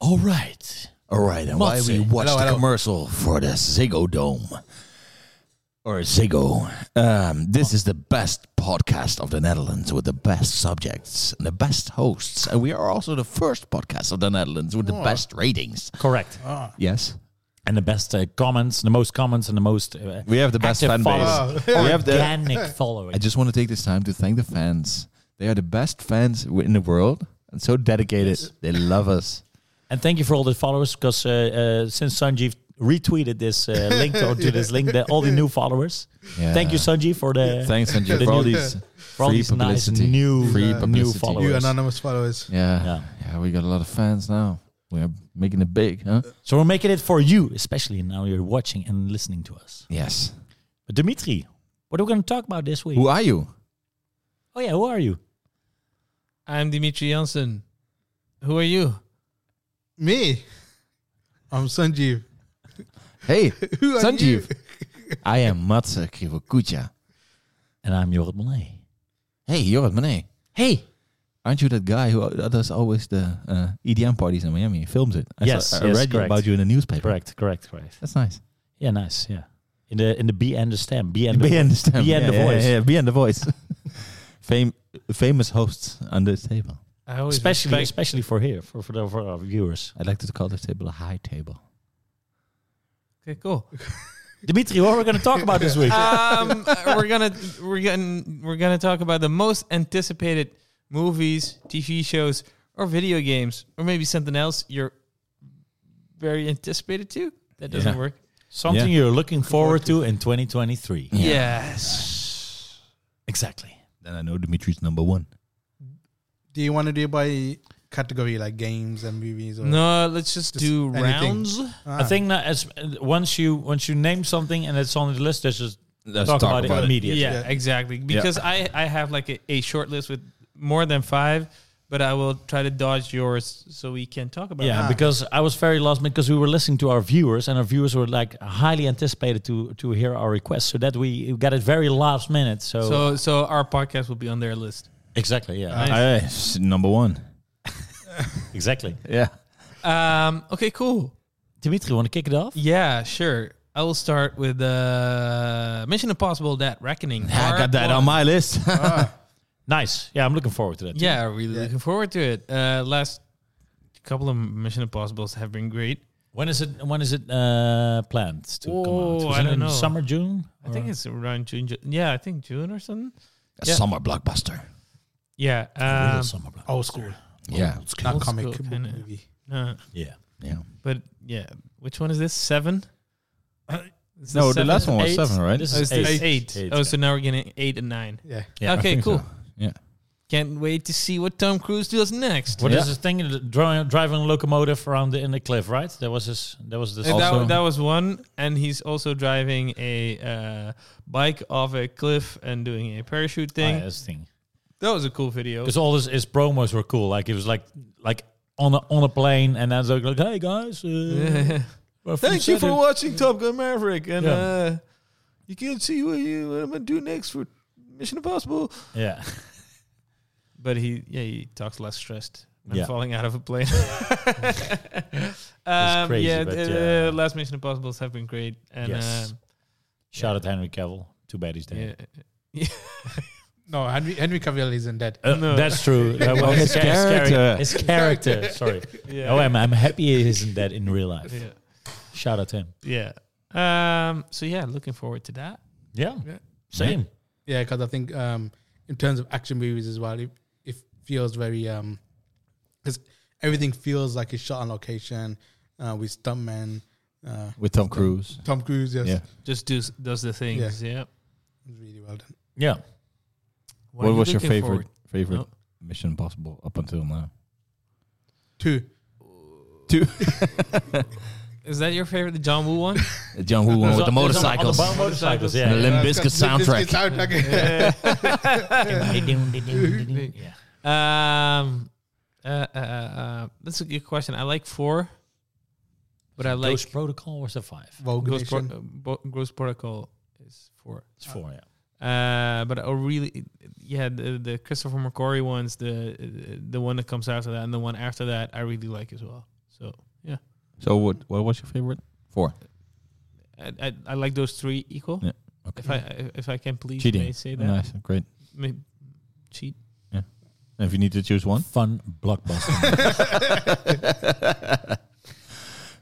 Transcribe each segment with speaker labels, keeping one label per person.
Speaker 1: All right. All right. And while we
Speaker 2: Motzi.
Speaker 1: watch
Speaker 2: Hello,
Speaker 1: the
Speaker 2: hello.
Speaker 1: commercial for the Ziggo Dome or Ziggo, um, this is the best podcast of the Netherlands with the best subjects and the best hosts. And we are also the first podcast of the Netherlands with the
Speaker 2: Oh.
Speaker 1: best ratings.
Speaker 2: Correct.
Speaker 1: Yes.
Speaker 2: And the best uh, comments, the most comments, and the most. Uh,
Speaker 1: We have the best
Speaker 2: active
Speaker 1: fan base.
Speaker 2: followers.
Speaker 1: We have the-
Speaker 2: Organic
Speaker 1: I
Speaker 2: following.
Speaker 1: just want to take this time to thank the fans. They are the best fans w- in the world and so dedicated. They love us.
Speaker 2: And thank you for all the followers because uh, uh, since Sanjeev retweeted this uh, link to, to this link, the, all the new followers.
Speaker 1: Yeah.
Speaker 2: Thank you, Sanjeev, for the
Speaker 1: Thanks, Sanjeev,
Speaker 2: the
Speaker 1: for all
Speaker 2: new-
Speaker 1: these
Speaker 2: for all
Speaker 1: free
Speaker 2: these nice
Speaker 1: publicity.
Speaker 2: new uh,
Speaker 1: Free
Speaker 2: new
Speaker 1: publicity.
Speaker 2: followers.
Speaker 3: You anonymous followers.
Speaker 1: Yeah.
Speaker 2: Yeah.
Speaker 1: yeah. we got a lot of fans now. We're making it big, huh?
Speaker 2: So we're making it for you, especially now you're watching and listening to us.
Speaker 1: Yes.
Speaker 2: But Dimitri, what are we going to talk about this week?
Speaker 1: Who are you?
Speaker 2: oh yeah, who are you?
Speaker 4: I'm Dimitri Janssen. Who are you?
Speaker 3: Me. I'm Sanjeev.
Speaker 1: Hey,
Speaker 3: Who are you?
Speaker 1: Sanjeev. I am Matze Krivokucha.
Speaker 2: And I'm Jorrit Monet.
Speaker 1: Hey, you're at Monet.
Speaker 2: Hey,
Speaker 1: Aren't you that guy who uh, does always the uh, EDM parties in Miami? He films it. I
Speaker 2: Yes,
Speaker 1: I
Speaker 2: yes,
Speaker 1: read you
Speaker 2: correct.
Speaker 1: about you in the newspaper.
Speaker 2: correct, correct, correct.
Speaker 1: That's nice.
Speaker 2: Yeah, nice. Yeah, in the in the B and the stem, B and the,
Speaker 1: Be and the stem.
Speaker 2: Be and the
Speaker 1: Yeah,
Speaker 2: voice.
Speaker 1: Yeah, yeah, Be and the voice. Fame, famous hosts on this table.
Speaker 4: I always
Speaker 2: especially
Speaker 4: respect-
Speaker 2: especially for here for for, the, for our viewers.
Speaker 1: I'd like to call this table a high table.
Speaker 4: Okay, cool.
Speaker 2: Dimitri, what are we going to talk about this week?
Speaker 4: Um, we're gonna we're gonna we're gonna talk about the most anticipated movies, TV shows, or video games, or maybe something else you're very anticipated to. That doesn't
Speaker 1: Yeah.
Speaker 4: work.
Speaker 2: Something
Speaker 1: Yeah.
Speaker 2: you're looking forward to in 2023.
Speaker 4: Yes.
Speaker 2: Exactly.
Speaker 1: Then I know Dimitri's number one.
Speaker 3: Do you want to do it by category like games and movies? Or Ah,
Speaker 4: No, let's Uh, just,
Speaker 3: Just
Speaker 4: do
Speaker 3: anything.
Speaker 4: rounds.
Speaker 1: Ah.
Speaker 2: I think that as uh, once you once you name something and it's on the list, let's just
Speaker 1: Let's
Speaker 2: talk, about, it
Speaker 4: Yeah,
Speaker 2: immediately.
Speaker 4: exactly. Because I I have like a, a short list with more than five, but I will try to dodge yours so we can talk about.
Speaker 2: Yeah,
Speaker 3: Ah.
Speaker 2: because I was very lost because we were listening to our viewers, and our viewers were like highly anticipated to to hear our request, so that we got it very last minute. So,
Speaker 4: It. So so our podcast will be on their list.
Speaker 2: exactly, yeah,
Speaker 4: Nice.
Speaker 1: Hey, s- number one.
Speaker 2: exactly.
Speaker 1: Yeah.
Speaker 4: Um. Okay. Cool.
Speaker 2: Dimitri, want to kick it off?
Speaker 4: Yeah. Sure. I will start with uh, Mission Impossible: That Reckoning.
Speaker 1: I got that on
Speaker 4: my.
Speaker 1: my list.
Speaker 2: Nice. Yeah, I'm looking forward to that. too.
Speaker 4: Yeah, really looking forward to it. Uh, last couple of Mission Impossibles have been great.
Speaker 2: When is it? When is it uh, planned to come out?
Speaker 4: Oh,
Speaker 2: Was
Speaker 4: I
Speaker 2: it
Speaker 4: don't
Speaker 2: in
Speaker 4: know.
Speaker 2: Summer, June.
Speaker 4: I think it's around June. Ju- Yeah, I think June or something.
Speaker 1: A
Speaker 4: Yeah.
Speaker 1: summer blockbuster.
Speaker 4: Yeah.
Speaker 2: Real
Speaker 4: Um,
Speaker 2: summer block.
Speaker 3: old school,
Speaker 1: Yeah.
Speaker 3: not
Speaker 4: Old
Speaker 3: comic
Speaker 4: school
Speaker 3: book
Speaker 4: kinda.
Speaker 3: movie.
Speaker 4: no,
Speaker 2: Yeah.
Speaker 1: Yeah.
Speaker 4: uh, but yeah, which one is this? Seven. Is
Speaker 1: No, the
Speaker 4: this seven?
Speaker 1: last one was
Speaker 2: Eight.
Speaker 1: seven, right?
Speaker 2: This
Speaker 4: Oh,
Speaker 2: is
Speaker 4: it's
Speaker 2: eight.
Speaker 4: eight. eight.
Speaker 2: Eight,
Speaker 4: Oh,
Speaker 2: yeah.
Speaker 4: so now we're getting eight and nine.
Speaker 3: Yeah,
Speaker 2: Yeah.
Speaker 1: I
Speaker 4: okay,
Speaker 1: think
Speaker 4: cool.
Speaker 1: so. Yeah.
Speaker 4: Can't wait to see what Tom Cruise does next.
Speaker 2: What is
Speaker 1: Yeah.
Speaker 2: this thing? The dri- Driving a locomotive around the, in the cliff, right? That was this. That was this. Ah,
Speaker 4: And
Speaker 1: Also-
Speaker 4: that, that was one, and he's also driving a uh, bike off a cliff and doing a parachute thing.
Speaker 2: thing.
Speaker 4: That was a cool video.
Speaker 2: Because all his, his promos were cool. Like it was like like on a on a plane, and then like, like hey guys, uh, we're from
Speaker 4: Thank you for
Speaker 2: Saturn."
Speaker 4: watching Top Gun Maverick, and
Speaker 2: Yeah.
Speaker 4: uh, you can see what, you, what I'm gonna do next for Mission Impossible.
Speaker 2: Yeah,
Speaker 4: But he, yeah, he talks less stressed. when
Speaker 2: Yeah.
Speaker 4: falling out of a plane.
Speaker 2: That's
Speaker 4: um,
Speaker 2: crazy,
Speaker 4: yeah,
Speaker 2: but,
Speaker 4: the,
Speaker 2: uh,
Speaker 4: last Mission Impossibles have been great, and
Speaker 2: Yes.
Speaker 4: um,
Speaker 2: shout out Henry Cavill. Too bad he's
Speaker 4: yeah,
Speaker 2: dead.
Speaker 3: No, Henry Henry Cavill isn't dead.
Speaker 2: Uh,
Speaker 4: No.
Speaker 2: That's true. That was
Speaker 1: his character.
Speaker 2: His character. Sorry.
Speaker 4: yeah,
Speaker 2: Oh, I'm, I'm happy he isn't dead in real life.
Speaker 4: yeah.
Speaker 2: Shout out to him.
Speaker 4: Yeah. Um. So yeah, looking forward to that.
Speaker 2: Yeah.
Speaker 3: Yeah.
Speaker 2: Same.
Speaker 3: Yeah, because I think um, in terms of action movies as well, it, it feels very um, because everything feels like it's shot on location uh, with stuntmen. Uh,
Speaker 1: With Tom Cruise.
Speaker 3: Tom Cruise, yes,
Speaker 1: Yeah.
Speaker 4: Just do does the things. Yeah.
Speaker 3: It's really well done.
Speaker 2: Yeah.
Speaker 1: What,
Speaker 4: are you
Speaker 1: was your
Speaker 4: looking
Speaker 1: favorite
Speaker 4: forward-
Speaker 1: favorite
Speaker 4: No.
Speaker 1: Mission Impossible up until now?
Speaker 3: Two,
Speaker 4: Is that your favorite, the John Woo one?
Speaker 1: The John Woo one
Speaker 2: It's
Speaker 1: with the
Speaker 2: on- it's on-
Speaker 1: motorcycles.
Speaker 2: On the bo- motorcycles.
Speaker 1: And the
Speaker 2: Yeah.
Speaker 1: Limp
Speaker 3: Uh,
Speaker 1: Bizkit
Speaker 3: Limp Bizkit
Speaker 1: soundtrack.
Speaker 3: soundtrack.
Speaker 2: yeah.
Speaker 4: um. Uh, uh, uh, uh, that's a good question. I like four, but I like
Speaker 2: Ghost Protocol was a five.
Speaker 3: Rogue
Speaker 4: Ghost, Pro-
Speaker 3: Nation.
Speaker 4: uh, Bo- Ghost Protocol is four.
Speaker 2: It's four. Yeah.
Speaker 4: Uh, but I really, yeah, the, the Christopher McQuarrie ones, the the one that comes after that, and the one after that, I really like as well. So So
Speaker 1: So what? What was your favorite? Four.
Speaker 4: I, I, I like those three equal.
Speaker 1: Yeah,
Speaker 4: If I if I can please
Speaker 1: Cheating.
Speaker 4: may say that
Speaker 1: Nice. Great.
Speaker 4: May- cheat.
Speaker 1: And if you need to choose one,
Speaker 2: Fun blockbuster.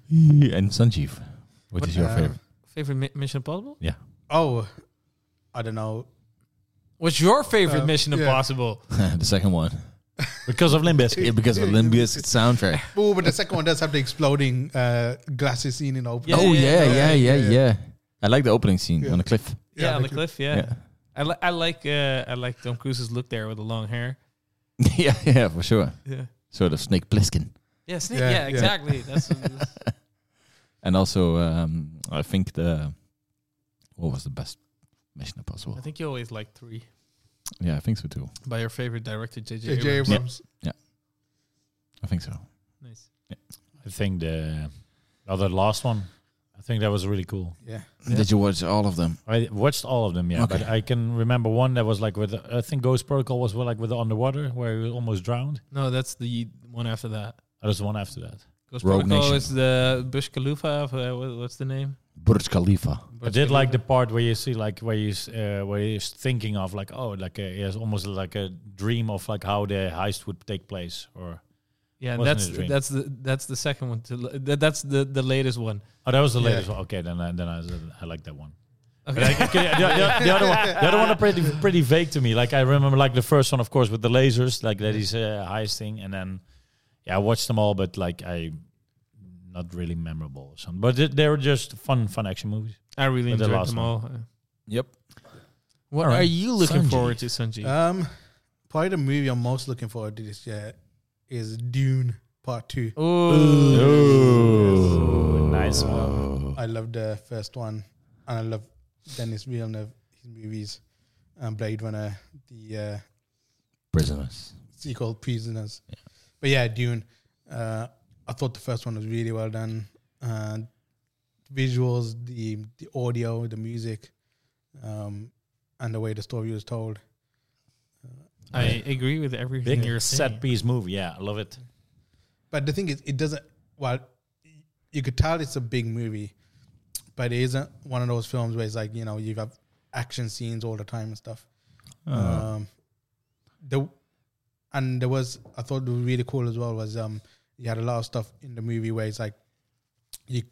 Speaker 1: and Sanjeev, what
Speaker 4: What-
Speaker 1: is your
Speaker 3: Uh,
Speaker 1: favorite?
Speaker 4: Favorite mi- Mission Impossible?
Speaker 3: Oh, I don't know.
Speaker 4: What's your favorite
Speaker 3: Uh,
Speaker 4: Mission
Speaker 3: yeah.
Speaker 4: Impossible?
Speaker 1: the second one,
Speaker 2: because of Limp Bizkit.
Speaker 1: yeah, because of Limp Bizkit soundtrack.
Speaker 3: Oh, but the second one does have the exploding uh, glasses scene in open.
Speaker 4: Yeah,
Speaker 1: oh yeah yeah yeah,
Speaker 3: yeah,
Speaker 1: yeah,
Speaker 3: yeah, yeah.
Speaker 1: I like the opening scene
Speaker 3: Yeah.
Speaker 1: on the cliff.
Speaker 4: Yeah, on the
Speaker 3: like-
Speaker 4: cliff. Yeah,
Speaker 1: Yeah.
Speaker 4: I, li- I like uh, I like Tom Cruise's look there with the long hair.
Speaker 1: yeah, yeah, for sure.
Speaker 4: Yeah,
Speaker 1: Sort of Snake Plissken,
Speaker 4: yeah, Snake,
Speaker 3: Yeah,
Speaker 4: yeah,
Speaker 3: yeah.
Speaker 4: exactly. That's
Speaker 1: and also um, I think the what was the best Mission Impossible?
Speaker 4: I think you always like three
Speaker 1: yeah, I think so too.
Speaker 4: by your favorite director JJ.
Speaker 3: J.J.
Speaker 4: Abrams.
Speaker 3: Abrams.
Speaker 1: I think so.
Speaker 4: Nice.
Speaker 2: I think the other last one. I think that was really cool.
Speaker 3: Yeah.
Speaker 1: Did you watch all of them?
Speaker 2: I watched all of them, yeah, but
Speaker 1: Okay.
Speaker 2: I can remember one that was like with I think Ghost Protocol was well, like with the underwater where he almost drowned.
Speaker 4: No, that's the one after that.
Speaker 2: That was the one after that.
Speaker 4: Ghost
Speaker 1: Rogue
Speaker 4: Protocol
Speaker 1: Nation.
Speaker 4: is the Bush Khalifa. Of, uh, what- what's the name?
Speaker 1: Burj Khalifa.
Speaker 2: I
Speaker 4: Burj
Speaker 2: did like the
Speaker 4: Khalifa.
Speaker 2: part where you see like where he's uh, where he's thinking of like oh like a, he has almost like a dream of like how the heist would take place or
Speaker 4: yeah.
Speaker 2: wasn't
Speaker 4: That's
Speaker 2: a dream.
Speaker 4: that's the that's the second one. To, l- that, that's the the latest one.
Speaker 2: oh that was the
Speaker 3: Yeah.
Speaker 2: latest one okay then I, then I, I like that one. But
Speaker 4: Okay.
Speaker 2: I- okay, the, the- the other one, the other one are pretty pretty vague to me. Like I remember, like the first one, of course, with the lasers, like that is uh, highest thing. And then, yeah, I watched them all, but like I, not really memorable or something. But they, they were just fun, fun action movies.
Speaker 4: I really
Speaker 2: But the
Speaker 4: enjoyed
Speaker 2: last
Speaker 4: them
Speaker 2: one.
Speaker 4: all.
Speaker 1: Yep.
Speaker 4: What
Speaker 2: All right.
Speaker 4: are you looking
Speaker 2: Sanji.
Speaker 4: forward to, Sanji?
Speaker 3: Um, probably the movie I'm most looking forward to this year is Dune Part Two.
Speaker 2: Ooh, nice
Speaker 1: one.
Speaker 3: I love the first one, and I love Dennis Villeneuve his movies, um, Blade Runner, the uh,
Speaker 1: Prisoners.
Speaker 3: sequel Prisoners. But yeah, Dune. Uh, I thought the first one was really well done. Uh, visuals, the the audio, the music, um, and the way the story was told.
Speaker 4: I agree with everything
Speaker 2: Big
Speaker 4: you're saying.
Speaker 2: set piece movie. Yeah, I love it.
Speaker 3: But the thing is, it doesn't. Well, you could tell it's a big movie, but it isn't one of those films where it's like you know you have action scenes all the time and stuff.
Speaker 4: Uh, Uh-huh.
Speaker 2: Uh,
Speaker 3: Um, the and there was I thought it was really cool as well was um you had a lot of stuff in the movie where it's like you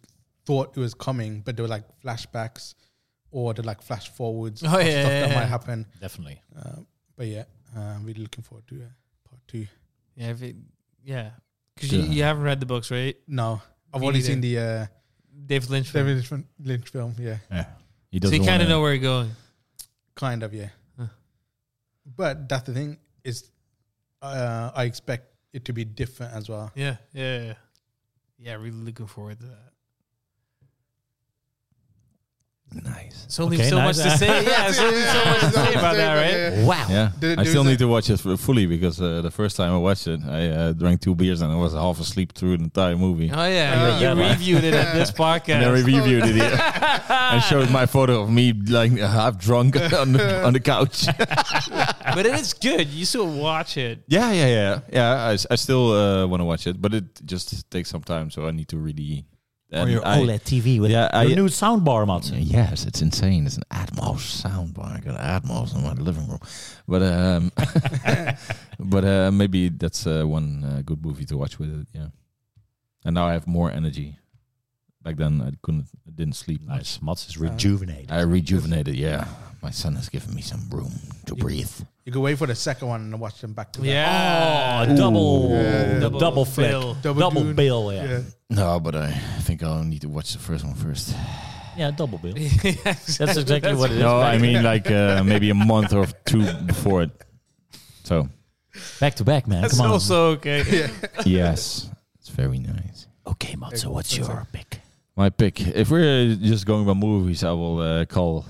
Speaker 3: thought it was coming, but there were like flashbacks or the like flash forwards
Speaker 4: Oh,
Speaker 3: of
Speaker 4: yeah,
Speaker 3: stuff
Speaker 4: yeah,
Speaker 3: that
Speaker 4: yeah.
Speaker 3: might happen.
Speaker 2: Definitely.
Speaker 3: Uh, but yeah, um, really looking forward to uh, part two.
Speaker 4: Yeah, if it, yeah. Because you,
Speaker 1: Yeah.
Speaker 4: you haven't read the books, right?
Speaker 3: No, I've
Speaker 4: Me
Speaker 3: already seen the uh,
Speaker 4: David Lynch. film.
Speaker 3: David Lynch- Lynch film. Yeah,
Speaker 1: Yeah. He
Speaker 4: so you kind of
Speaker 1: wanna-
Speaker 4: know where you're going.
Speaker 3: kind of yeah.
Speaker 4: Huh.
Speaker 3: But that's the thing is, uh, I expect it to be different as well.
Speaker 4: Yeah, yeah, yeah. Yeah, really looking forward to that.
Speaker 1: Nice.
Speaker 4: It's only
Speaker 2: Okay,
Speaker 4: so
Speaker 2: nice.
Speaker 4: much to say. Yeah, it's only so much to say about that, right? Oh,
Speaker 3: Yeah.
Speaker 2: Wow.
Speaker 1: Yeah,
Speaker 3: There-
Speaker 1: I
Speaker 3: there's
Speaker 1: still
Speaker 3: a-
Speaker 1: need to watch it f- fully because uh, the first time I watched it, I uh, drank two beers and I was half asleep through the entire movie.
Speaker 4: Oh yeah,
Speaker 3: Yeah.
Speaker 4: you
Speaker 2: Yeah.
Speaker 4: reviewed it at this
Speaker 1: And I
Speaker 4: podcast.
Speaker 1: reviewed it here and showed my photo of me like half drunk on the, on the couch.
Speaker 4: but it is good. You still watch it.
Speaker 1: yeah, yeah, yeah, yeah. I, s- I still uh, want to watch it, but it just takes some time, so I need to really.
Speaker 2: Oh,
Speaker 1: and I-
Speaker 2: TV with
Speaker 1: Yeah,
Speaker 2: your
Speaker 1: I-
Speaker 2: new soundbar, Mats.
Speaker 1: Yes, it's insane. It's an Atmos soundbar. I got an Atmos in my living room, but um, but uh, maybe that's uh, one uh, good movie to watch with it. Yeah, and now I have more energy. Back then, I couldn't, I didn't sleep. much.
Speaker 2: Nice. Mats is
Speaker 4: Uh,
Speaker 2: rejuvenated.
Speaker 1: I rejuvenated. Yeah, my son has given me some room to breathe.
Speaker 3: You can wait for the second one and watch them back to back.
Speaker 4: Yeah,
Speaker 2: Oh, double,
Speaker 3: Yeah.
Speaker 2: the double flip,
Speaker 4: bill.
Speaker 3: Double
Speaker 2: double,
Speaker 3: Dune.
Speaker 2: bill, yeah.
Speaker 3: Yeah.
Speaker 2: yeah,
Speaker 1: No, but I think I'll need to watch the first one first.
Speaker 2: double bill.
Speaker 4: Yeah,
Speaker 2: That's exactly what it is.
Speaker 1: No,
Speaker 2: Back-
Speaker 1: I mean like uh, maybe a month or two before it. So
Speaker 2: back to back, man.
Speaker 4: That's
Speaker 2: Come on.
Speaker 4: also okay.
Speaker 1: yes, it's very nice.
Speaker 2: Okay, Mats, so what's your pick?
Speaker 1: My pick. If we're just going by movies, I will uh, call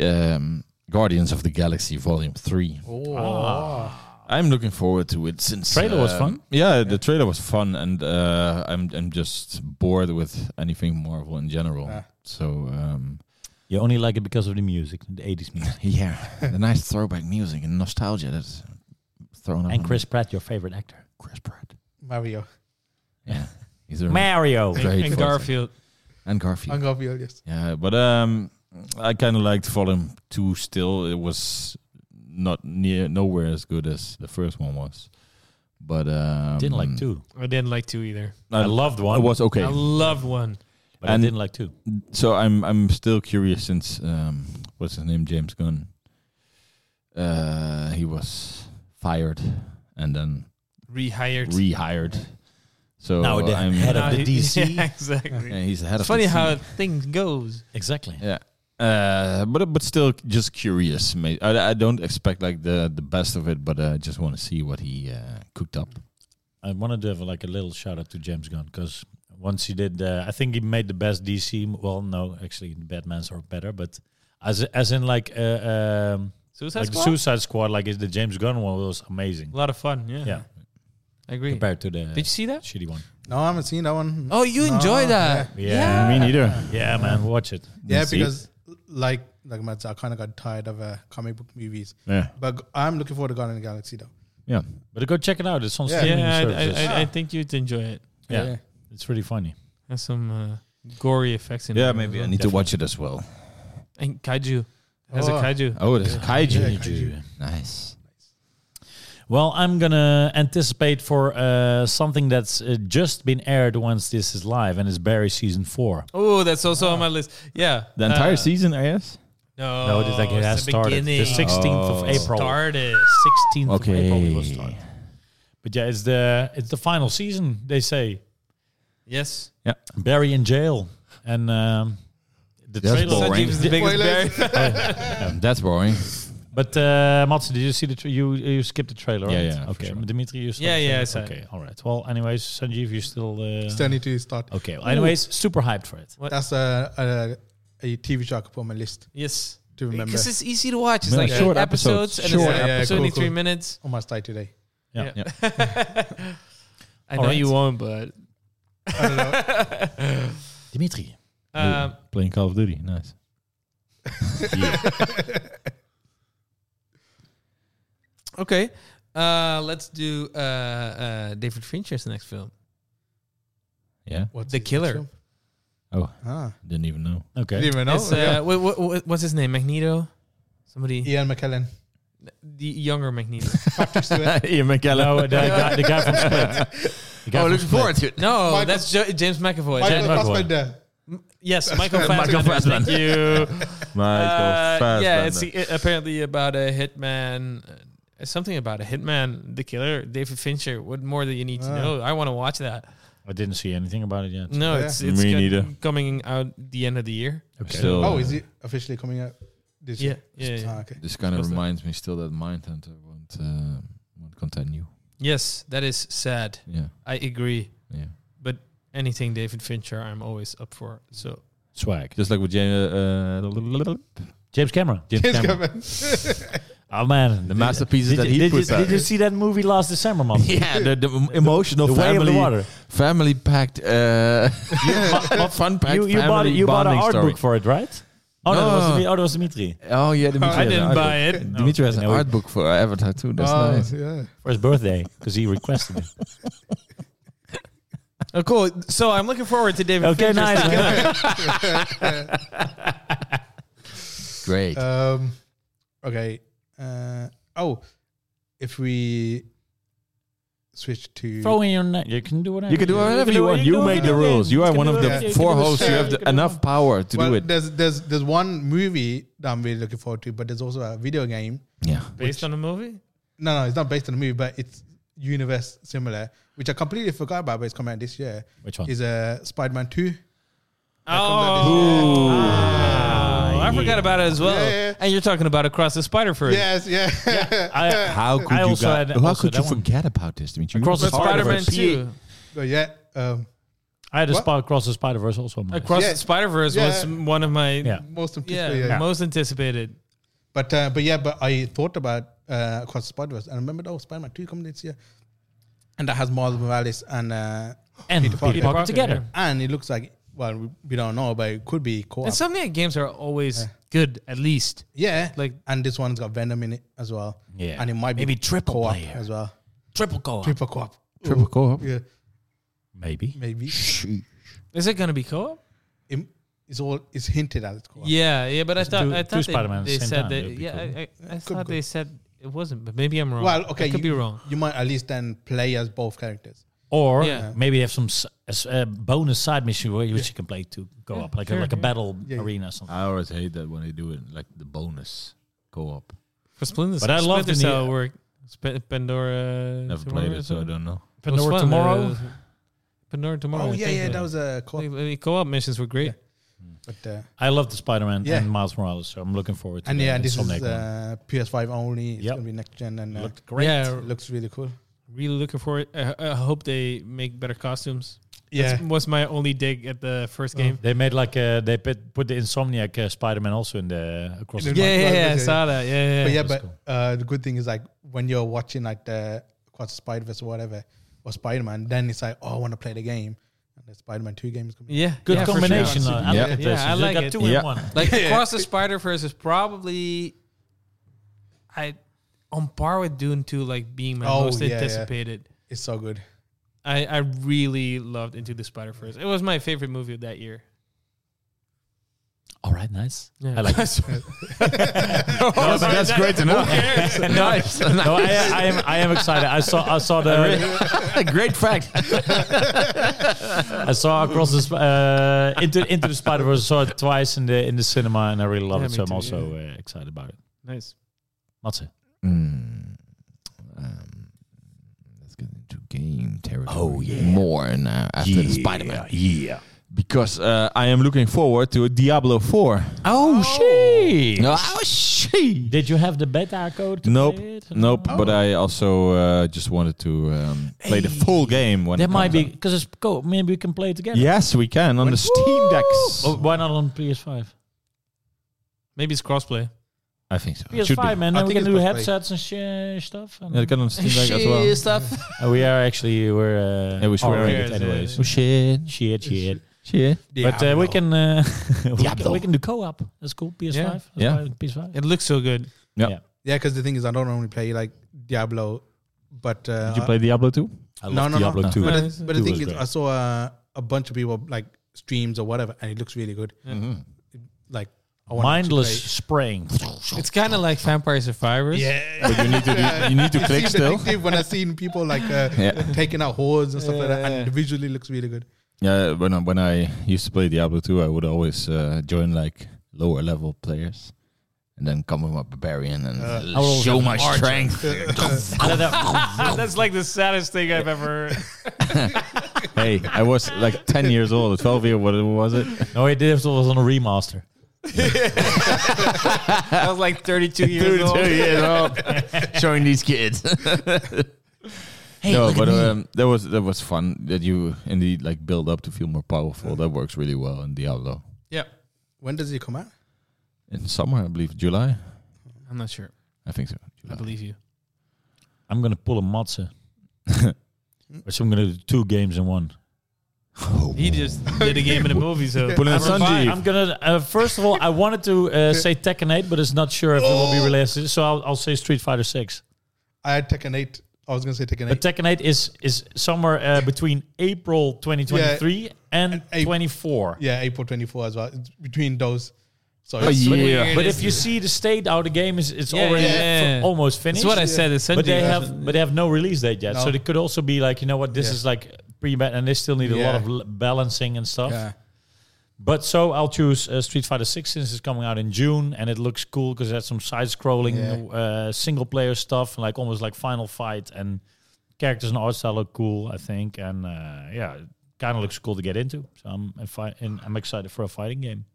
Speaker 1: um, Guardians of the Galaxy Volume Three.
Speaker 3: Oh.
Speaker 2: Ah.
Speaker 1: I'm looking forward to it since
Speaker 2: Trailer was
Speaker 1: um,
Speaker 2: fun.
Speaker 1: Yeah, the trailer was fun, and uh, I'm I'm just bored with anything Marvel in general.
Speaker 3: Ah.
Speaker 1: So um,
Speaker 2: You only like it because of the music, the 80s music.
Speaker 1: yeah, the nice throwback music and nostalgia that's thrown up
Speaker 2: and
Speaker 1: on
Speaker 2: Chris Pratt, your favorite actor.
Speaker 1: Chris Pratt.
Speaker 3: Mario.
Speaker 1: Yeah. He's a
Speaker 2: Mario.
Speaker 1: Great
Speaker 4: and
Speaker 1: voice.
Speaker 4: Garfield.
Speaker 1: and Garfield.
Speaker 3: On Garfield, yes.
Speaker 1: Yeah, but um, I kind of liked Volume Two. Still, it was not near nowhere as good as the first one was. But um,
Speaker 2: Didn't like two.
Speaker 4: I didn't like two either.
Speaker 2: I loved
Speaker 1: It
Speaker 2: one.
Speaker 1: was okay.
Speaker 4: I loved one.
Speaker 2: but I
Speaker 1: and-
Speaker 2: didn't like two.
Speaker 1: so I'm I'm still curious since um, what's his name James Gunn. Uh, he was fired and then
Speaker 4: Rehired.
Speaker 1: rehired. So
Speaker 2: Now the
Speaker 1: I'm,
Speaker 2: head
Speaker 4: Now
Speaker 2: of the
Speaker 4: he-
Speaker 2: DC.
Speaker 4: Yeah, exactly.
Speaker 1: yeah, he's the head
Speaker 4: It's
Speaker 1: of the
Speaker 4: funny how
Speaker 1: team.
Speaker 4: things goes.
Speaker 2: Exactly.
Speaker 1: Yeah. Uh, but but still, just curious. ma- I, I don't expect like the the best of it, but uh, I just want to see what he uh, cooked up.
Speaker 2: I wanted to have like a little shout out to James Gunn because once he did, uh, I think he made the best DC. m- Well, no, actually, the Batman's are better, but as as in like uh, um,
Speaker 4: Suicide
Speaker 2: like the
Speaker 4: Squad?
Speaker 2: Suicide Squad, like is the James Gunn one was amazing.
Speaker 4: a lot of fun. Yeah.
Speaker 2: Yeah,
Speaker 4: I agree.
Speaker 2: compared to the
Speaker 4: Did you see that?
Speaker 2: shitty one.
Speaker 3: No, I haven't seen that one.
Speaker 4: Oh, you
Speaker 3: No,
Speaker 4: enjoy that.
Speaker 2: Yeah.
Speaker 1: Me neither.
Speaker 2: Yeah, man, watch it.
Speaker 3: Yeah,
Speaker 1: See?
Speaker 3: because like like Matt said, I kind of got tired of uh, comic book movies.
Speaker 1: Yeah,
Speaker 3: But g- I'm looking forward to Guardian of the Galaxy though.
Speaker 1: yeah.
Speaker 2: But go check it out. It's on
Speaker 3: Yeah.
Speaker 2: streaming
Speaker 4: Yeah, I,
Speaker 2: services.
Speaker 4: I, I, I think you'd enjoy it.
Speaker 2: yeah. it's really funny.
Speaker 4: Has some uh, gory effects in it.
Speaker 1: Yeah,
Speaker 4: as
Speaker 1: maybe I
Speaker 4: well.
Speaker 1: need to watch it as well.
Speaker 4: And kaiju. Has
Speaker 3: Oh.
Speaker 4: a kaiju.
Speaker 1: Oh, it is kaiju.
Speaker 3: Yeah, kaiju.
Speaker 1: Nice.
Speaker 2: Well, I'm gonna anticipate for uh, something that's uh, just been aired once this is live, and it's Barry season four.
Speaker 4: Oh, that's also on my list. Yeah.
Speaker 1: The entire
Speaker 4: Uh,
Speaker 1: season, I guess.
Speaker 4: No,
Speaker 2: No, it's like it
Speaker 4: Oh, it's
Speaker 2: has
Speaker 4: the
Speaker 2: started. The
Speaker 4: beginning.
Speaker 2: 16th of
Speaker 1: Oh.
Speaker 2: April.
Speaker 4: Started.
Speaker 2: 16th of
Speaker 1: Okay.
Speaker 2: April it will start. But yeah, it's the it's the final season. They say
Speaker 4: Yes.
Speaker 2: Barry in jail, and um, the
Speaker 1: That's
Speaker 2: trailer.
Speaker 1: boring.
Speaker 4: Sanjeev is the biggest
Speaker 3: Spoilers.
Speaker 4: bear.
Speaker 1: um, That's boring.
Speaker 2: But uh, Mats, did you see the tra- you you skipped the trailer?
Speaker 1: Yeah,
Speaker 2: right?
Speaker 1: yeah, uh, for
Speaker 2: Okay,
Speaker 1: sure.
Speaker 2: Dimitri, you saw
Speaker 4: Yeah,
Speaker 2: the
Speaker 4: yeah,
Speaker 2: trailer?
Speaker 4: I saw it.
Speaker 2: Okay, all right. Well, anyways, Sanjeev, you still uh,
Speaker 3: Still need to start.
Speaker 2: okay? Well, anyways, super hyped for it.
Speaker 3: That's a, a a TV show I could put on my list
Speaker 4: yes.
Speaker 3: to remember.
Speaker 4: Because it's easy to watch. It's
Speaker 1: Yeah,
Speaker 4: like
Speaker 1: short
Speaker 4: eight
Speaker 1: episodes.
Speaker 4: episodes, and
Speaker 3: Short
Speaker 4: it's like
Speaker 3: episodes.
Speaker 4: 23
Speaker 3: Cool, cool.
Speaker 4: minutes.
Speaker 3: on my site today.
Speaker 2: Yeah.
Speaker 4: Yeah. I know
Speaker 2: All right.
Speaker 4: you won't, but.
Speaker 3: I don't know.
Speaker 1: Dimitri
Speaker 4: Um,
Speaker 1: playing Call of Duty. Nice.
Speaker 4: okay. Uh, let's do uh, uh, David Fincher's next film.
Speaker 1: Yeah.
Speaker 3: What's
Speaker 4: The
Speaker 3: his
Speaker 4: Killer.
Speaker 3: name?
Speaker 1: Oh,
Speaker 3: Ah,
Speaker 1: didn't even know.
Speaker 2: Okay,
Speaker 3: didn't even know.
Speaker 4: It's, uh,
Speaker 3: yeah.
Speaker 4: wha- wha- wha- what's his name? Magneto? Somebody.
Speaker 3: Ian McKellen.
Speaker 4: The younger Magneto.
Speaker 3: Patrick Stewart.
Speaker 1: Ian
Speaker 2: no,
Speaker 1: McKellen.
Speaker 2: the, guy, Ah, the guy from Split. The guy from Split.
Speaker 1: Oh, to it.
Speaker 4: No,
Speaker 3: Michael-
Speaker 4: that's jo- James McAvoy.
Speaker 3: Michael
Speaker 4: James-
Speaker 2: Fassbender.
Speaker 3: Fassbender.
Speaker 4: yes, Michael Fassbender.
Speaker 1: Michael Fassbender.
Speaker 4: Thank you. Uh,
Speaker 1: Michael
Speaker 4: yeah, it's uh, apparently about a hitman. uh, Something about a hitman, the killer, David Fincher. What more do you need to
Speaker 3: Ah.
Speaker 4: know? I want to watch that.
Speaker 2: I didn't see anything about it yet.
Speaker 1: Mm.
Speaker 4: No,
Speaker 3: Yeah.
Speaker 4: it's it's
Speaker 1: Me
Speaker 4: got-
Speaker 1: neither.
Speaker 4: coming out the end of the year.
Speaker 2: Okay.
Speaker 1: Still,
Speaker 3: Oh, is it officially coming out this
Speaker 4: Yeah,
Speaker 3: year?
Speaker 4: yeah, yeah.
Speaker 3: Ah, okay.
Speaker 1: This kind of
Speaker 4: What's that?
Speaker 1: reminds me still that Mindhunter won't uh, won't continue.
Speaker 4: Yes, that is sad.
Speaker 1: Yeah,
Speaker 4: I agree.
Speaker 1: yeah.
Speaker 4: But anything David Fincher, I'm always up for. So
Speaker 2: Swag.
Speaker 1: Just like with James, uh,
Speaker 2: James Cameron. James Cameron. Oh man,
Speaker 1: the masterpieces
Speaker 2: Did
Speaker 1: that
Speaker 2: you,
Speaker 1: he
Speaker 2: did, you,
Speaker 1: puts out.
Speaker 2: did you see that movie last December, man?
Speaker 1: yeah, the, the emotional
Speaker 2: The Way of
Speaker 1: family
Speaker 2: the Water.
Speaker 1: family packed uh, fun packed
Speaker 2: You, you bought
Speaker 1: family
Speaker 2: you bought an
Speaker 1: bonding
Speaker 2: art
Speaker 1: story.
Speaker 2: book for it, right? Oh, no. that was
Speaker 1: No.
Speaker 2: Dimi- oh, that was Dimitri
Speaker 1: Oh yeah, Dimitri
Speaker 3: I
Speaker 1: has an
Speaker 4: didn't
Speaker 1: art
Speaker 4: buy
Speaker 1: book.
Speaker 4: it.
Speaker 2: No.
Speaker 1: Dimitri has an
Speaker 2: No, we-
Speaker 1: art book for Avatar too. That's
Speaker 3: oh,
Speaker 1: nice.
Speaker 3: yeah.
Speaker 2: for his birthday because he requested it.
Speaker 1: uh,
Speaker 4: oh, cool. So I'm looking forward to David.
Speaker 2: okay,
Speaker 4: Fincher's
Speaker 2: nice. man.
Speaker 1: Great.
Speaker 3: Um, okay. Uh, oh, if we switch to
Speaker 2: Throw in your net. You can do whatever
Speaker 1: you can do whatever you,
Speaker 2: do
Speaker 1: want.
Speaker 2: what-
Speaker 1: You
Speaker 2: do
Speaker 1: made
Speaker 2: whatever
Speaker 1: the
Speaker 2: you
Speaker 1: rules.
Speaker 2: want.
Speaker 1: You are
Speaker 2: can
Speaker 1: one
Speaker 2: do
Speaker 1: of the
Speaker 2: whatever- you
Speaker 1: four
Speaker 2: can do
Speaker 1: hosts. You
Speaker 2: whatever
Speaker 1: have the,
Speaker 2: can do
Speaker 1: enough
Speaker 2: whatever.
Speaker 1: power to
Speaker 3: well,
Speaker 1: do it.
Speaker 3: there's there's there's one movie that I'm really looking forward to, but there's also a video game.
Speaker 1: Yeah.
Speaker 4: Based on a movie?
Speaker 3: No, no, it's not based on a movie, but it's universe similar, which I completely forgot about, but it's coming out this year.
Speaker 2: Which
Speaker 1: Oh.
Speaker 2: one?
Speaker 3: Is a uh, Spider-Man Two?
Speaker 4: Oh,
Speaker 2: Ah,
Speaker 4: I forgot
Speaker 2: yeah.
Speaker 4: about it as well.
Speaker 3: Yeah, yeah.
Speaker 4: And you're talking about Across the Spider Verse.
Speaker 3: Yes, yeah.
Speaker 2: I,
Speaker 1: How could
Speaker 2: I
Speaker 1: you?
Speaker 2: also
Speaker 1: go-
Speaker 2: had
Speaker 1: how
Speaker 2: also
Speaker 1: could you
Speaker 2: that one.
Speaker 1: forget about this, Dimitri?
Speaker 2: Across the
Speaker 1: It's hard
Speaker 4: Spider Man
Speaker 1: to see.
Speaker 4: 2.
Speaker 3: but yeah. Um,
Speaker 2: I had a
Speaker 3: What?
Speaker 2: spot across the Spider Verse also. on my list.
Speaker 4: Across
Speaker 3: Yeah.
Speaker 4: the Spider Verse
Speaker 3: Yeah.
Speaker 4: was one of my
Speaker 2: Yeah.
Speaker 4: yeah,
Speaker 3: most of yeah, yeah.
Speaker 4: most anticipated.
Speaker 3: But uh, but yeah, but I thought about uh, across the Spider-Verse and I remembered oh Spider-Man Two coming this year, and that has Miles Morales and uh,
Speaker 2: and Peter
Speaker 3: Peter Parker.
Speaker 2: Parker,
Speaker 3: Peter
Speaker 4: Parker,
Speaker 2: together.
Speaker 4: yeah.
Speaker 3: and it looks like well we- we don't know, but it could be co-op.
Speaker 4: And Insomniac games are always good, at least.
Speaker 3: yeah, like
Speaker 4: like-
Speaker 3: and this one's got Venom in it as well.
Speaker 2: Yeah.
Speaker 3: and it might be
Speaker 2: Maybe triple
Speaker 3: co-op
Speaker 2: player.
Speaker 3: as well.
Speaker 2: Triple co
Speaker 3: Triple co-op.
Speaker 1: Triple co-op.
Speaker 3: Yeah.
Speaker 2: Maybe.
Speaker 3: Maybe
Speaker 4: Is it going to be co-op?
Speaker 3: It- it's all it's hinted at. It's called.
Speaker 4: Yeah, yeah, but I
Speaker 2: Just
Speaker 4: thought
Speaker 2: do-
Speaker 4: I
Speaker 2: do
Speaker 4: thought
Speaker 2: Spider-Man at
Speaker 4: they,
Speaker 2: the
Speaker 4: they
Speaker 2: same
Speaker 4: said
Speaker 2: time,
Speaker 4: that.
Speaker 2: that'd be
Speaker 4: Yeah,
Speaker 2: cool.
Speaker 4: I, I, I
Speaker 3: Could
Speaker 4: thought
Speaker 3: go.
Speaker 4: they said it wasn't, but maybe I'm wrong.
Speaker 3: Well, okay,
Speaker 4: I could
Speaker 3: you-
Speaker 4: be wrong.
Speaker 3: You might at least then play as both characters.
Speaker 2: Or
Speaker 4: Yeah.
Speaker 2: maybe they have some s- as a bonus side mission where you- which you can play to go up, like
Speaker 4: sure,
Speaker 2: a, like a
Speaker 4: yeah.
Speaker 2: battle
Speaker 3: Yeah, yeah.
Speaker 2: arena or something.
Speaker 1: I always hate that when they do it like the bonus co-op.
Speaker 4: For Splinter,
Speaker 2: But I love
Speaker 4: Splinter
Speaker 2: the new-
Speaker 4: Cell work. Sp- Pandora.
Speaker 1: Never
Speaker 4: Tomorrow
Speaker 1: played
Speaker 4: or
Speaker 1: it, so I
Speaker 4: something?
Speaker 1: don't know.
Speaker 4: It was
Speaker 2: Pandora
Speaker 4: fun,
Speaker 2: Tomorrow?
Speaker 4: uh, Pandora tomorrow.
Speaker 3: Oh
Speaker 4: I
Speaker 3: yeah,
Speaker 4: think.
Speaker 3: yeah, that was a co-op.
Speaker 4: The- the co-op missions were great.
Speaker 3: But, uh,
Speaker 2: I love the Spider Man
Speaker 3: Yeah.
Speaker 2: and Miles Morales, so I'm looking forward to
Speaker 3: and
Speaker 2: the
Speaker 3: yeah, this is
Speaker 2: Insomniac one.
Speaker 3: uh, PS5 only. It's
Speaker 2: Yep.
Speaker 3: gonna be next gen and uh,
Speaker 2: Looked great.
Speaker 4: Yeah,
Speaker 3: it looks really cool.
Speaker 4: really looking forward. I, I hope they make better costumes.
Speaker 3: Yeah,
Speaker 4: That was my only dig at the first game.
Speaker 2: They made like uh, they put, put the Insomniac uh, Spider Man also in the across.
Speaker 3: In
Speaker 2: the
Speaker 3: the-
Speaker 4: Yeah, yeah, yeah,
Speaker 3: Yeah.
Speaker 4: I saw that. Yeah, yeah.
Speaker 3: but yeah,
Speaker 2: that's
Speaker 3: but
Speaker 2: cool.
Speaker 3: uh, the good thing is like when you're watching like the Across the Spider Verse or whatever or Spider Man, then it's like oh, I want to play the game. And the Spider Man Two game is coming.
Speaker 4: Yeah,
Speaker 2: Good
Speaker 4: yeah, for sure.
Speaker 2: combination. uh, I
Speaker 1: Yeah.
Speaker 2: like it.
Speaker 4: Yeah, I
Speaker 2: They
Speaker 4: like
Speaker 2: got
Speaker 4: it.
Speaker 2: two
Speaker 1: Yeah.
Speaker 2: in one.
Speaker 4: Like Across the Spider Verse is probably, I, on par with Dune 2, like being my
Speaker 3: Oh,
Speaker 4: most
Speaker 3: yeah, yeah.
Speaker 4: anticipated.
Speaker 3: It's so good.
Speaker 4: I I really loved Into the Spider Verse. It was my favorite movie of that year.
Speaker 2: All right, nice.
Speaker 4: Yeah.
Speaker 2: I like it.
Speaker 1: That's, that's great to know. nice.
Speaker 2: No, I, I am I am excited. I saw I saw the
Speaker 1: great fact.
Speaker 2: I saw across the Sp- uh, into into the Spider Verse. Saw it twice in the in the cinema, and I really love
Speaker 4: Yeah,
Speaker 2: it.
Speaker 4: me
Speaker 2: So I'm
Speaker 4: too,
Speaker 2: also uh, excited about it.
Speaker 4: Nice.
Speaker 2: Matze.
Speaker 1: Mm, um, let's get into game territory.
Speaker 2: Oh, yeah.
Speaker 1: more now after the Spider Man
Speaker 2: Yeah.
Speaker 1: because uh, I am looking forward to Diablo Four.
Speaker 2: Oh, shit!
Speaker 1: No, oh shit.
Speaker 2: Did you have the beta code? to
Speaker 1: Nope,
Speaker 2: play it?
Speaker 1: nope.
Speaker 2: No?
Speaker 1: But I also uh, just wanted to um, play the full game when
Speaker 2: That
Speaker 1: it
Speaker 2: might be
Speaker 1: comes out.
Speaker 2: because it's co. Maybe we can play it together.
Speaker 1: Yes, we can on the Steam Decks.
Speaker 2: Oh, why not on PS5?
Speaker 4: Maybe it's crossplay.
Speaker 1: I think so. It should be.
Speaker 2: PS5, man.
Speaker 3: I
Speaker 2: Then we can
Speaker 3: think it's
Speaker 2: do
Speaker 3: crossplay.
Speaker 2: headsets and sh- stuff. And
Speaker 1: Yeah, it can on Steam Deck as well.
Speaker 4: stuff.
Speaker 2: Uh, we are actually we're uh,
Speaker 1: Yeah, we should
Speaker 2: already
Speaker 1: wear
Speaker 2: it
Speaker 4: it.
Speaker 2: anyways.
Speaker 1: Oh shit!
Speaker 2: Shit, shit.
Speaker 1: Shit!
Speaker 2: But uh, we
Speaker 3: Diablo.
Speaker 2: can uh, we
Speaker 1: Diablo.
Speaker 2: can we can do co-op. That's cool. PS5.
Speaker 4: Yeah.
Speaker 2: That's
Speaker 1: Yeah.
Speaker 2: why PS5.
Speaker 4: It looks so good.
Speaker 3: Yeah, because the thing is, I don't only play like Diablo, but uh,
Speaker 1: Did you play Diablo 2?
Speaker 2: I
Speaker 3: No, no,
Speaker 1: no.
Speaker 3: But,
Speaker 4: Yeah,
Speaker 3: the-
Speaker 4: it's-
Speaker 3: but the
Speaker 2: Two
Speaker 3: thing
Speaker 2: was
Speaker 3: is,
Speaker 2: great.
Speaker 3: I saw uh, a bunch of people like streams or whatever, and it looks really good. Like I wanted to
Speaker 2: Mindless
Speaker 3: play-
Speaker 2: spraying.
Speaker 4: It's kind of like Vampire Survivors.
Speaker 3: Yeah,
Speaker 1: But you need to do, you need to
Speaker 3: It
Speaker 1: click
Speaker 3: seemed
Speaker 1: still.
Speaker 3: addictive when I seen people like uh,
Speaker 1: Yeah.
Speaker 3: taking out hordes and stuff like that, and visually looks really good.
Speaker 1: Yeah, when I, when I used to play Diablo 2, I would always uh, join like lower level players and then come with my barbarian and
Speaker 2: I would
Speaker 1: uh,
Speaker 2: always
Speaker 1: show
Speaker 2: have
Speaker 1: my
Speaker 2: an archer.
Speaker 1: strength.
Speaker 4: That's like the saddest thing I've ever.
Speaker 1: hey, I was like 10 years old, 12 year what was it?
Speaker 2: no, it did- it was on a remaster.
Speaker 4: I was like 32 years
Speaker 1: 32
Speaker 4: old.
Speaker 1: years old, showing these kids. no, but um, that was that was fun that you indeed like build up to feel more powerful. That works really well in Diablo.
Speaker 4: Yeah,
Speaker 3: When does it come out?
Speaker 1: In summer, I believe July.
Speaker 4: I'm not sure.
Speaker 1: I think so.
Speaker 4: I believe you.
Speaker 2: I'm gonna pull a Matze. Which I'm gonna do two games in one.
Speaker 4: He just did a game in a movie, so
Speaker 1: Put in
Speaker 4: I'm fine.
Speaker 1: Sanjeev.
Speaker 2: I'm gonna. Uh, first of all, I wanted to uh, say Tekken 8, but it's not sure if it will be released. So I'll, I'll say Street Fighter 6.
Speaker 3: I had Tekken Eight. I was gonna say Tekken
Speaker 2: But
Speaker 3: Eight.
Speaker 2: Tekken 8 is is somewhere uh, between April 2023 and
Speaker 3: April.
Speaker 2: 24.
Speaker 3: yeah, April twenty four as well. It's between those. So
Speaker 1: Oh,
Speaker 3: it's-
Speaker 1: yeah.
Speaker 2: But,
Speaker 4: weird,
Speaker 2: but if
Speaker 4: isn't
Speaker 2: you
Speaker 4: it?
Speaker 2: see the state how the game is, it's
Speaker 4: Yeah,
Speaker 2: already
Speaker 4: yeah.
Speaker 2: f- almost finished.
Speaker 4: That's what I said. It's
Speaker 2: but they
Speaker 4: Sanjeev.
Speaker 2: have but they have no release date yet, so
Speaker 3: No.
Speaker 2: they could also be like you know what this
Speaker 3: Yeah.
Speaker 2: is like pre and they still need a lot
Speaker 3: Yeah.
Speaker 2: of l- balancing and stuff.
Speaker 3: yeah.
Speaker 2: But so I'll choose uh, Street Fighter Six since it's coming out in June and it looks cool because it has some side-scrolling
Speaker 3: Yeah.
Speaker 2: uh, single-player stuff, like almost like Final Fight, and characters and art style look cool, I think, and uh, yeah, it kind of looks cool to get into. So I'm in fi- in, I'm excited for a fighting game.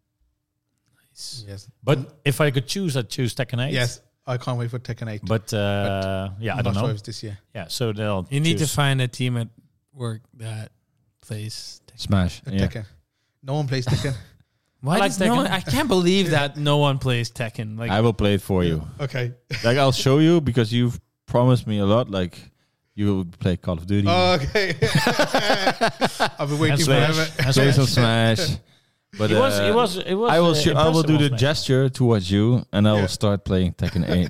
Speaker 3: Yes.
Speaker 2: But if I could choose, I'd choose Tekken Eight.
Speaker 3: Yes. I can't wait for Tekken Eight.
Speaker 2: But, uh, yeah, I
Speaker 3: I'm
Speaker 2: don't
Speaker 3: not
Speaker 2: know.
Speaker 3: sure if it's this year.
Speaker 2: yeah, so they'll
Speaker 4: You need to
Speaker 2: choose.
Speaker 4: find a team at work that plays.
Speaker 1: Smash. Yeah.
Speaker 3: Tekken. No one plays Tekken.
Speaker 4: Why
Speaker 2: like
Speaker 4: does no
Speaker 2: Tekken.
Speaker 4: one, I can't believe that no one plays Tekken. Like
Speaker 1: I will play it for you.
Speaker 3: okay.
Speaker 1: Like I'll show you because you've promised me a lot. Like you will play Call of Duty,
Speaker 3: Oh, Okay. I've been waiting
Speaker 2: And Smash.
Speaker 3: forever.
Speaker 2: And
Speaker 1: play
Speaker 2: Smash.
Speaker 1: some Smash. But
Speaker 2: It was,
Speaker 1: uh,
Speaker 2: it was, it was.
Speaker 1: I will.
Speaker 2: uh,
Speaker 1: Sh- I will do
Speaker 2: impossible
Speaker 1: the
Speaker 2: Smash.
Speaker 1: gesture towards you, and I
Speaker 3: Yeah.
Speaker 1: will start playing Tekken Eight.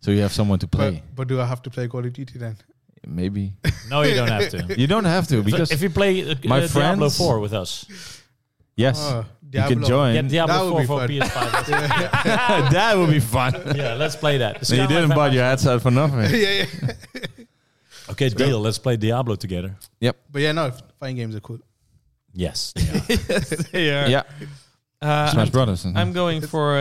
Speaker 1: so you have someone to
Speaker 3: But,
Speaker 1: play.
Speaker 3: but do I have to play Call of Duty then?
Speaker 1: Maybe
Speaker 2: No, you don't have to.
Speaker 1: you don't have to because
Speaker 2: if you play uh,
Speaker 1: my
Speaker 2: uh, Diablo
Speaker 1: friends-
Speaker 2: 4 with us,
Speaker 1: yes,
Speaker 3: Oh,
Speaker 1: you can
Speaker 3: Diablo.
Speaker 1: join.
Speaker 2: yeah,
Speaker 3: That would
Speaker 2: Diablo 4
Speaker 3: be
Speaker 2: for
Speaker 3: fun.
Speaker 2: PS5. Let's-
Speaker 1: that would be fun.
Speaker 2: yeah, let's play that.
Speaker 1: you didn't buy your headset for nothing.
Speaker 3: yeah, yeah.
Speaker 2: Okay, deal. Let's play Diablo together.
Speaker 3: But yeah, no, fighting games are cool.
Speaker 2: Yes. Yeah.
Speaker 4: they are.
Speaker 1: yeah,
Speaker 4: Uh,
Speaker 1: Smash
Speaker 4: I'm,
Speaker 1: Brothers.
Speaker 4: I'm going for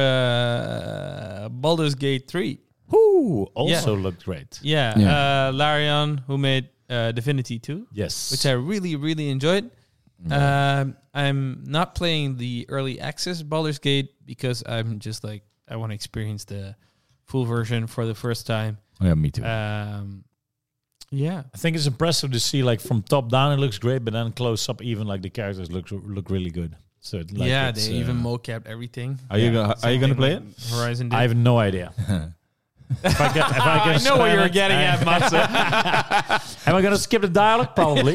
Speaker 4: uh, Baldur's Gate 3.
Speaker 2: Who also looked great.
Speaker 4: Yeah.
Speaker 1: Yeah.
Speaker 4: Uh, Larion, who made uh, Divinity 2,
Speaker 2: Yes.
Speaker 4: which I really, really enjoyed. Um, I'm not playing the early access Baldur's Gate because I'm just like, I want to experience the full version for the first time.
Speaker 1: yeah, me
Speaker 2: Uh,
Speaker 1: too.
Speaker 4: Um, yeah.
Speaker 2: I think it's impressive to see like from top down it looks great, but then close up even like the characters look look really good. So it, like,
Speaker 4: yeah,
Speaker 2: it's,
Speaker 4: they
Speaker 2: uh,
Speaker 4: even mocapped everything.
Speaker 1: are you gonna, are you gonna play it?
Speaker 4: Horizon did.
Speaker 2: I have no idea. if I get, if I, get
Speaker 4: know what
Speaker 2: spam
Speaker 4: you're
Speaker 2: it,
Speaker 4: getting
Speaker 2: I-
Speaker 4: at, Matze.
Speaker 2: Am I gonna skip the dialogue? Probably.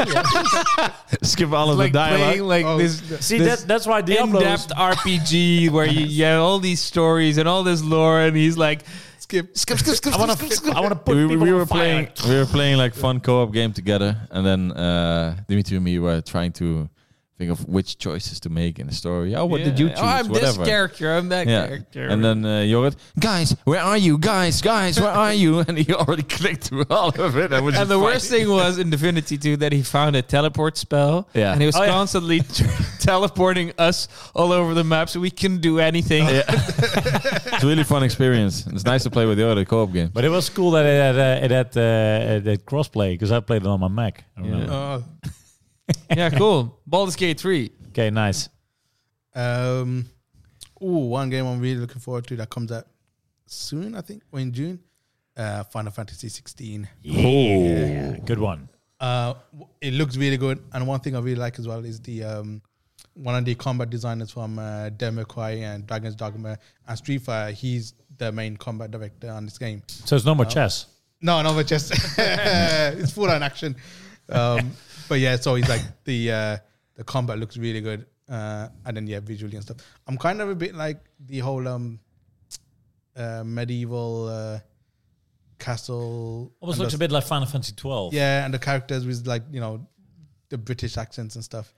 Speaker 1: Skip all of the dialogue.
Speaker 4: like
Speaker 3: Oh,
Speaker 4: this
Speaker 2: See,
Speaker 4: This-
Speaker 2: that, that's why Diablo.
Speaker 4: in-depth RPG where you, you have all these stories and all this lore, and he's like,
Speaker 3: Skip. Skip, skip, skip.
Speaker 2: I want to. I want to put
Speaker 1: we,
Speaker 2: people
Speaker 1: we were
Speaker 2: on fire.
Speaker 1: playing we were playing like fun co-op game together and then uh dimitri and me were trying to think of which choices to make in the story oh what did you
Speaker 4: yeah,
Speaker 1: choose
Speaker 4: Oh, I'm
Speaker 1: whatever
Speaker 4: this character. I'm that
Speaker 1: yeah
Speaker 4: character.
Speaker 1: and then uh Jorrit, guys where are you guys guys where are you and he already clicked through all of it and,
Speaker 4: And the worst thing was in Divinity 2 that he found a teleport spell.
Speaker 1: Yeah.
Speaker 4: And he was
Speaker 2: Oh, yeah.
Speaker 4: constantly teleporting us all over the map so we couldn't do anything.
Speaker 1: yeah it's a really fun experience it's nice to play with the other co-op game
Speaker 2: But it was cool that it had uh, it had uh, it had crossplay because I played it on my Mac. I remember.
Speaker 3: Oh,
Speaker 4: yeah, cool. Baldur's Gate 3.
Speaker 2: Okay, nice.
Speaker 3: um, ooh, one game I'm really looking forward to that comes out soon, I think, or in June. Uh, Final Fantasy 16.
Speaker 2: Yeah, good one.
Speaker 3: Uh, w- it looks really good, and one thing I really like as well is the um, one of the combat designers from uh, Democry and Dragon's Dogma and Street Fighter. He's the main combat director on this game.
Speaker 2: So it's no more chess.
Speaker 3: No, no, but just it's full on action. Um, but yeah, so he's like the uh, the combat looks really good, uh, and then yeah, visually and stuff. I'm kind of a bit like the whole um, uh, medieval uh, castle.
Speaker 2: Almost
Speaker 3: and
Speaker 2: looks
Speaker 3: the-
Speaker 2: a bit like Final Fantasy twelve.
Speaker 3: yeah, and the characters with like you know the British accents and stuff.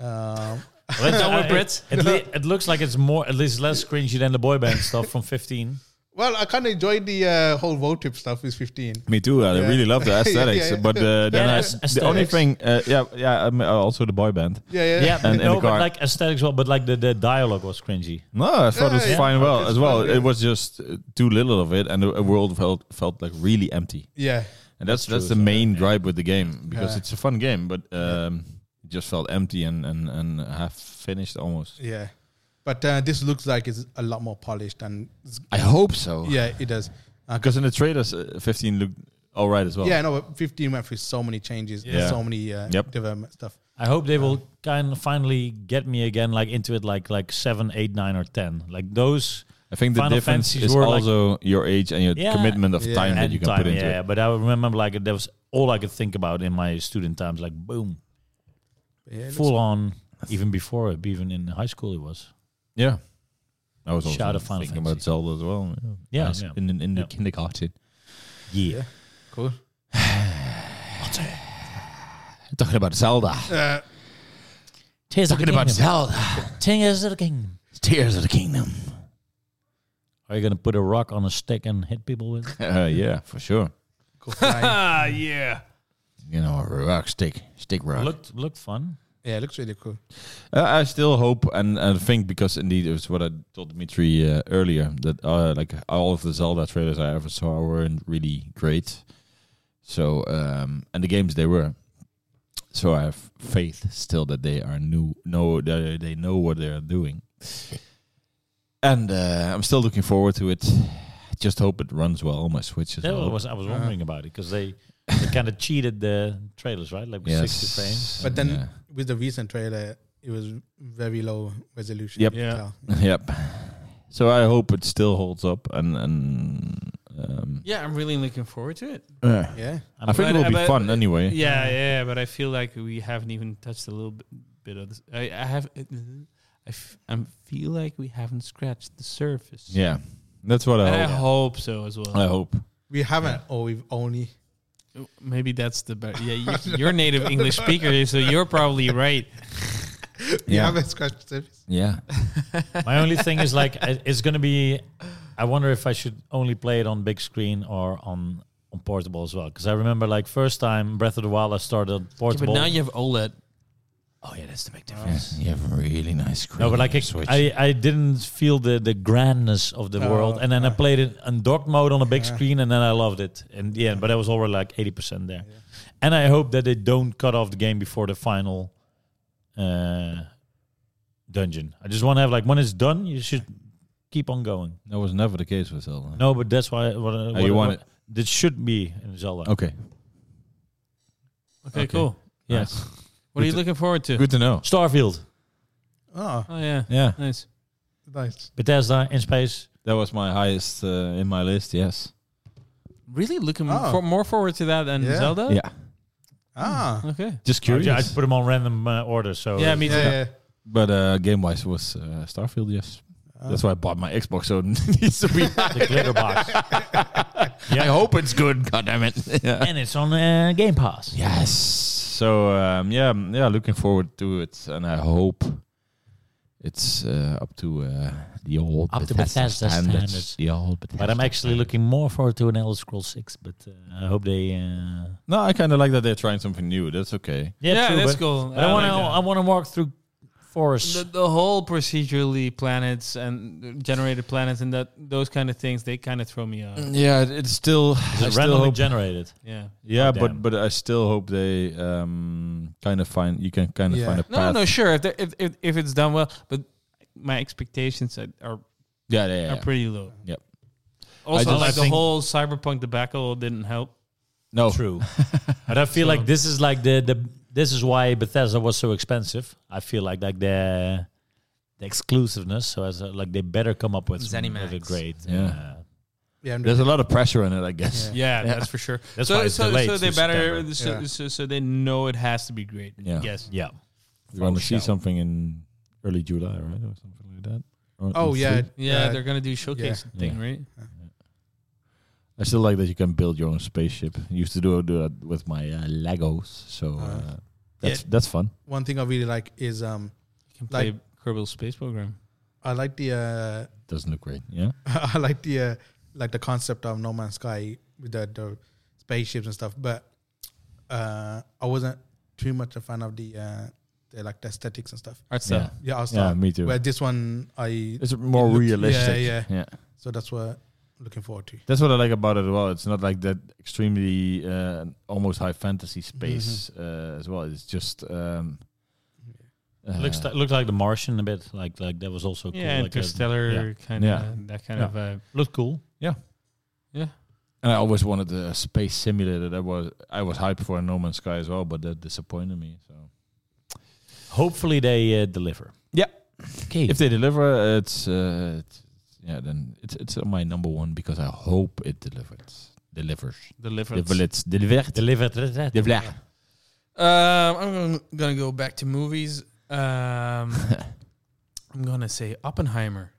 Speaker 3: Um,
Speaker 2: Well, it's-
Speaker 4: No, we're
Speaker 2: uh, it-
Speaker 4: Brits.
Speaker 2: It, le- it looks like it's more, at least less cringy than the boy band stuff from 15.
Speaker 3: well, I kind of enjoyed the uh, whole road trip stuff with 15.
Speaker 1: Me too. I
Speaker 3: Yeah.
Speaker 1: really love the
Speaker 3: Yeah,
Speaker 1: aesthetics,
Speaker 3: yeah.
Speaker 1: but uh, then
Speaker 2: Yeah,
Speaker 1: I,
Speaker 2: aesthetics.
Speaker 1: the only thing, uh, yeah, yeah, um, uh, also the boy band.
Speaker 3: Yeah, yeah,
Speaker 2: Yeah,
Speaker 1: And- and
Speaker 2: no,
Speaker 1: the
Speaker 2: but
Speaker 1: car.
Speaker 2: like aesthetics, well, but like the, the dialogue was cringy.
Speaker 1: No, I thought it was
Speaker 3: Yeah,
Speaker 1: fine.
Speaker 3: yeah.
Speaker 1: Well,
Speaker 3: It's
Speaker 1: as well,
Speaker 3: fine,
Speaker 1: it
Speaker 3: yeah.
Speaker 1: was just uh, too little of it, and the uh, world felt felt like really empty.
Speaker 3: yeah.
Speaker 1: And that's
Speaker 2: That's
Speaker 1: that's,
Speaker 2: true,
Speaker 1: the
Speaker 2: so,
Speaker 1: main gripe with the game because
Speaker 3: Yeah.
Speaker 1: it's a fun game, but um, it just felt empty and and and half finished almost.
Speaker 3: Yeah, but uh, this looks like it's a lot more polished and it's-
Speaker 1: I hope so.
Speaker 3: yeah, it does. Uh, 'cause-
Speaker 1: because in the trailers, uh, fifteen looked all right as well.
Speaker 3: yeah, no, but 15 went through so many changes,
Speaker 1: Yeah.
Speaker 3: so many uh,
Speaker 1: Yep.
Speaker 3: development stuff.
Speaker 2: I hope they will kind of finally get me again, like into it, like like seven, eight, nine, or ten, like those.
Speaker 1: I think the
Speaker 2: Final
Speaker 1: difference
Speaker 2: Fantasies
Speaker 1: is
Speaker 2: were like-
Speaker 1: also your age and your
Speaker 2: Yeah.
Speaker 1: commitment of
Speaker 3: Yeah.
Speaker 1: time that
Speaker 2: and
Speaker 1: you can
Speaker 2: time,
Speaker 1: put into
Speaker 2: yeah,
Speaker 1: it.
Speaker 2: But I remember like that was all I could think about in my student times, like boom,
Speaker 3: But yeah, it
Speaker 2: full
Speaker 3: looks-
Speaker 2: on. Even before, it, even in high school, it was.
Speaker 1: Yeah. I was also
Speaker 2: Shout out Final
Speaker 1: thinking about
Speaker 2: Fantasy.
Speaker 1: Zelda as well.
Speaker 2: Yeah,
Speaker 1: Nice.
Speaker 2: yeah.
Speaker 1: In, in, in
Speaker 2: Yeah.
Speaker 1: the kindergarten.
Speaker 2: Yeah.
Speaker 3: cool.
Speaker 1: Talking about Zelda.
Speaker 3: Uh,
Speaker 2: Tears
Speaker 1: Talking about Zelda.
Speaker 2: Tears of the Kingdom.
Speaker 1: Tears of the Kingdom.
Speaker 2: Are you gonna put a rock on a stick and hit people with? it?
Speaker 1: Uh, yeah, for sure.
Speaker 3: cool flying.
Speaker 4: Ah, yeah.
Speaker 1: You know, a rock stick, stick rock.
Speaker 2: looked looked fun.
Speaker 3: yeah, it looks really cool.
Speaker 1: Uh, I still hope and, and think because indeed it was what I told Dimitri uh, earlier that uh, like all of the Zelda trailers I ever saw weren't really great. So um, and the games they were. So I have faith still that they are new, know that they know what they are doing, and uh, I'm still looking forward to it. Just hope it runs well on my Switch as
Speaker 2: That
Speaker 1: well.
Speaker 2: was I was wondering about it because they, they kind of cheated the trailers, right? Like with
Speaker 1: Yes.
Speaker 2: 60 frames.
Speaker 3: But then
Speaker 1: Yeah.
Speaker 3: with the recent trailer, it was very low resolution.
Speaker 1: Yep.
Speaker 3: you could
Speaker 2: Yeah.
Speaker 3: tell.
Speaker 1: yep. So I hope it still holds up and and um,
Speaker 4: Yeah, I'm really looking forward to it.
Speaker 1: uh,
Speaker 3: Yeah.
Speaker 2: I'm
Speaker 1: I think
Speaker 4: glad-
Speaker 1: it will be
Speaker 4: but-
Speaker 1: fun anyway.
Speaker 4: Yeah, yeah, but I feel like we haven't even touched a little bit, bit of this. I, I have, uh, I, f- I feel like we haven't scratched the surface.
Speaker 1: Yeah, that's what I
Speaker 4: and I
Speaker 1: hope.
Speaker 4: hope so as well.
Speaker 1: I hope.
Speaker 3: We haven't, or we've only
Speaker 4: Maybe that's the better. Yeah, you, you're a native English speaker, so you're probably right.
Speaker 5: Yeah.
Speaker 3: have a scratch service.
Speaker 5: Yeah.
Speaker 2: My only thing is like I- it's gonna be. I wonder if I should only play it on big screen or on on portable as well. Because I remember like first time Breath of the Wild, I started on
Speaker 4: Yeah, but
Speaker 2: portable.
Speaker 4: now you have OLED.
Speaker 2: oh yeah, that's the big
Speaker 5: yeah.
Speaker 2: difference.
Speaker 5: You have a really nice screen.
Speaker 2: No, but like
Speaker 5: on
Speaker 2: I,
Speaker 5: your Switch.
Speaker 2: I, I didn't feel the, the grandness of the
Speaker 3: Oh,
Speaker 2: world, and then I
Speaker 4: uh.
Speaker 3: yeah.
Speaker 2: played it in dock mode on a big
Speaker 3: Yeah.
Speaker 2: screen, and then I loved it in the end. But I was already like eighty percent there,
Speaker 3: Yeah.
Speaker 2: and I hope that they don't cut off the game before the final uh, dungeon. I just want to have like when it's done, you should keep on going.
Speaker 1: That was never the case with Zelda.
Speaker 2: No, but that's why what, uh,
Speaker 1: Oh,
Speaker 2: what-
Speaker 1: you want
Speaker 2: what-
Speaker 1: it? Oh.
Speaker 2: This should be in Zelda.
Speaker 1: Okay.
Speaker 4: Okay,
Speaker 1: Okay.
Speaker 4: cool.
Speaker 2: Yes,
Speaker 4: What are you
Speaker 1: Good.
Speaker 4: looking forward to?
Speaker 1: Good to know.
Speaker 2: Starfield,
Speaker 3: Oh,
Speaker 4: Oh yeah,
Speaker 1: Yeah,
Speaker 4: nice.
Speaker 3: nice.
Speaker 2: Bethesda in space.
Speaker 1: that was my highest uh, in my list. Yes.
Speaker 4: Really looking
Speaker 3: Oh.
Speaker 4: for, more forward to that than
Speaker 3: Yeah.
Speaker 4: Zelda.
Speaker 1: Yeah.
Speaker 3: Ah,
Speaker 4: Okay.
Speaker 1: Just
Speaker 2: I,
Speaker 1: curious.
Speaker 2: I put them on random uh, order, so
Speaker 4: Yeah, me too.
Speaker 3: yeah, yeah.
Speaker 1: But uh, game wise was uh, Starfield. Yes.
Speaker 3: Ah.
Speaker 1: That's why I bought my Xbox. So it needs to be.
Speaker 2: the glitter box.
Speaker 5: I hope it's good. God damn it. yeah.
Speaker 2: and it's on uh, Game Pass.
Speaker 1: yes. So um, yeah, mm, yeah. Looking forward to it, and I hope it's uh, up to uh, the old
Speaker 2: Up to Bethesda standards.
Speaker 5: The old
Speaker 2: But I'm actually looking more forward to an Elder Scrolls 6, but uh, I hope they. Uh,
Speaker 1: No, I kind of like that they're trying something new. That's okay.
Speaker 4: Yeah,
Speaker 2: true,
Speaker 4: that's
Speaker 2: but,
Speaker 4: cool.
Speaker 2: But I want to.
Speaker 4: like that.
Speaker 2: I want to walk through forests.
Speaker 4: the, the whole procedurally planets and generated planets and that those kind of things they kind of throw me off.
Speaker 1: Yeah, it- it's still.
Speaker 2: Is
Speaker 1: I
Speaker 2: it
Speaker 1: still
Speaker 2: randomly
Speaker 1: hope-
Speaker 2: generated.
Speaker 4: Yeah.
Speaker 1: yeah,
Speaker 2: Oh, damn.
Speaker 1: but but I still hope they um, kind of find you can kind of
Speaker 3: Yeah.
Speaker 1: find a
Speaker 4: No,
Speaker 1: path.
Speaker 4: no, sure. If, there- if if if it's done well, but my expectations are are,
Speaker 1: Yeah, yeah, yeah.
Speaker 4: are pretty low.
Speaker 1: Yep.
Speaker 4: Also,
Speaker 1: just-
Speaker 4: like
Speaker 1: I
Speaker 4: the
Speaker 1: think-
Speaker 4: whole cyberpunk debacle didn't help.
Speaker 1: no,
Speaker 2: True. but I feel
Speaker 4: So-
Speaker 2: like this is like the the this is why Bethesda was so expensive. I feel like like the the exclusiveness. So as a, like they better come up with some
Speaker 4: Zenimax.
Speaker 2: really great.
Speaker 1: Yeah.
Speaker 2: Uh,
Speaker 3: yeah I'm
Speaker 1: there's a lot of pressure on it, I guess.
Speaker 3: Yeah.
Speaker 4: Yeah,
Speaker 1: Yeah.
Speaker 4: that's for sure.
Speaker 2: that's
Speaker 4: so
Speaker 2: why it's
Speaker 4: so,
Speaker 2: delayed.
Speaker 4: so they
Speaker 2: to
Speaker 4: better
Speaker 2: September.
Speaker 4: so,
Speaker 3: Yeah.
Speaker 4: so so they know it has to be great.
Speaker 1: Yeah.
Speaker 4: Yes.
Speaker 2: Yeah.
Speaker 1: We want
Speaker 2: Oh,
Speaker 1: to see
Speaker 2: shall.
Speaker 1: something in early July, right, or something like that. Or
Speaker 3: Oh
Speaker 1: in
Speaker 3: yeah,
Speaker 1: three.
Speaker 4: Yeah,
Speaker 3: uh,
Speaker 4: they're gonna do showcase
Speaker 1: Yeah.
Speaker 4: thing,
Speaker 1: Yeah.
Speaker 4: right?
Speaker 1: I still like that you can build your own spaceship. I used to do, do that with my uh, Legos, so
Speaker 3: Uh,
Speaker 1: uh, that's that's fun.
Speaker 3: one thing I really like is um,
Speaker 4: You can play
Speaker 3: Like-
Speaker 4: Kerbal Space Program.
Speaker 3: I like the uh,
Speaker 1: Doesn't look great, yeah.
Speaker 3: I like the uh, like the concept of No Man's Sky with the, the spaceships and stuff, but uh, I wasn't too much a fan of the uh, the like the aesthetics and stuff.
Speaker 4: Art style.
Speaker 3: Yeah, I was
Speaker 1: Yeah,
Speaker 3: like-
Speaker 1: me too.
Speaker 3: Where this one I
Speaker 1: It's more
Speaker 3: It looks-
Speaker 1: realistic.
Speaker 3: yeah,
Speaker 1: yeah.
Speaker 3: so that's what I'm looking forward to.
Speaker 1: That's what I like about it as well. It's not like that extremely uh, almost high fantasy space
Speaker 3: Mm-hmm.
Speaker 1: uh, as well. It's just um, uh,
Speaker 2: Looks t- looked like the Martian a bit. Like like that was also cool.
Speaker 4: Yeah,
Speaker 2: like uh, a-
Speaker 4: interstellar kind of
Speaker 1: Yeah.
Speaker 4: that kind
Speaker 2: Yeah.
Speaker 4: of uh, vibe.
Speaker 2: looked cool.
Speaker 4: Yeah.
Speaker 1: And I always wanted a space simulator. That was I was hyped for No Man's Sky as well, but that disappointed me. So
Speaker 2: Hopefully they uh, deliver.
Speaker 1: Yeah.
Speaker 2: Okay.
Speaker 1: if they deliver, it's, uh, it's yeah, then it's it's my number one because I hope it delivers. Delivers.
Speaker 4: Deliverance.
Speaker 1: Delivers. Delivers.
Speaker 2: delivered it, that-
Speaker 1: Delivers.
Speaker 4: Um, I'm gonna, gonna go back to movies. Um, I'm gonna say Oppenheimer.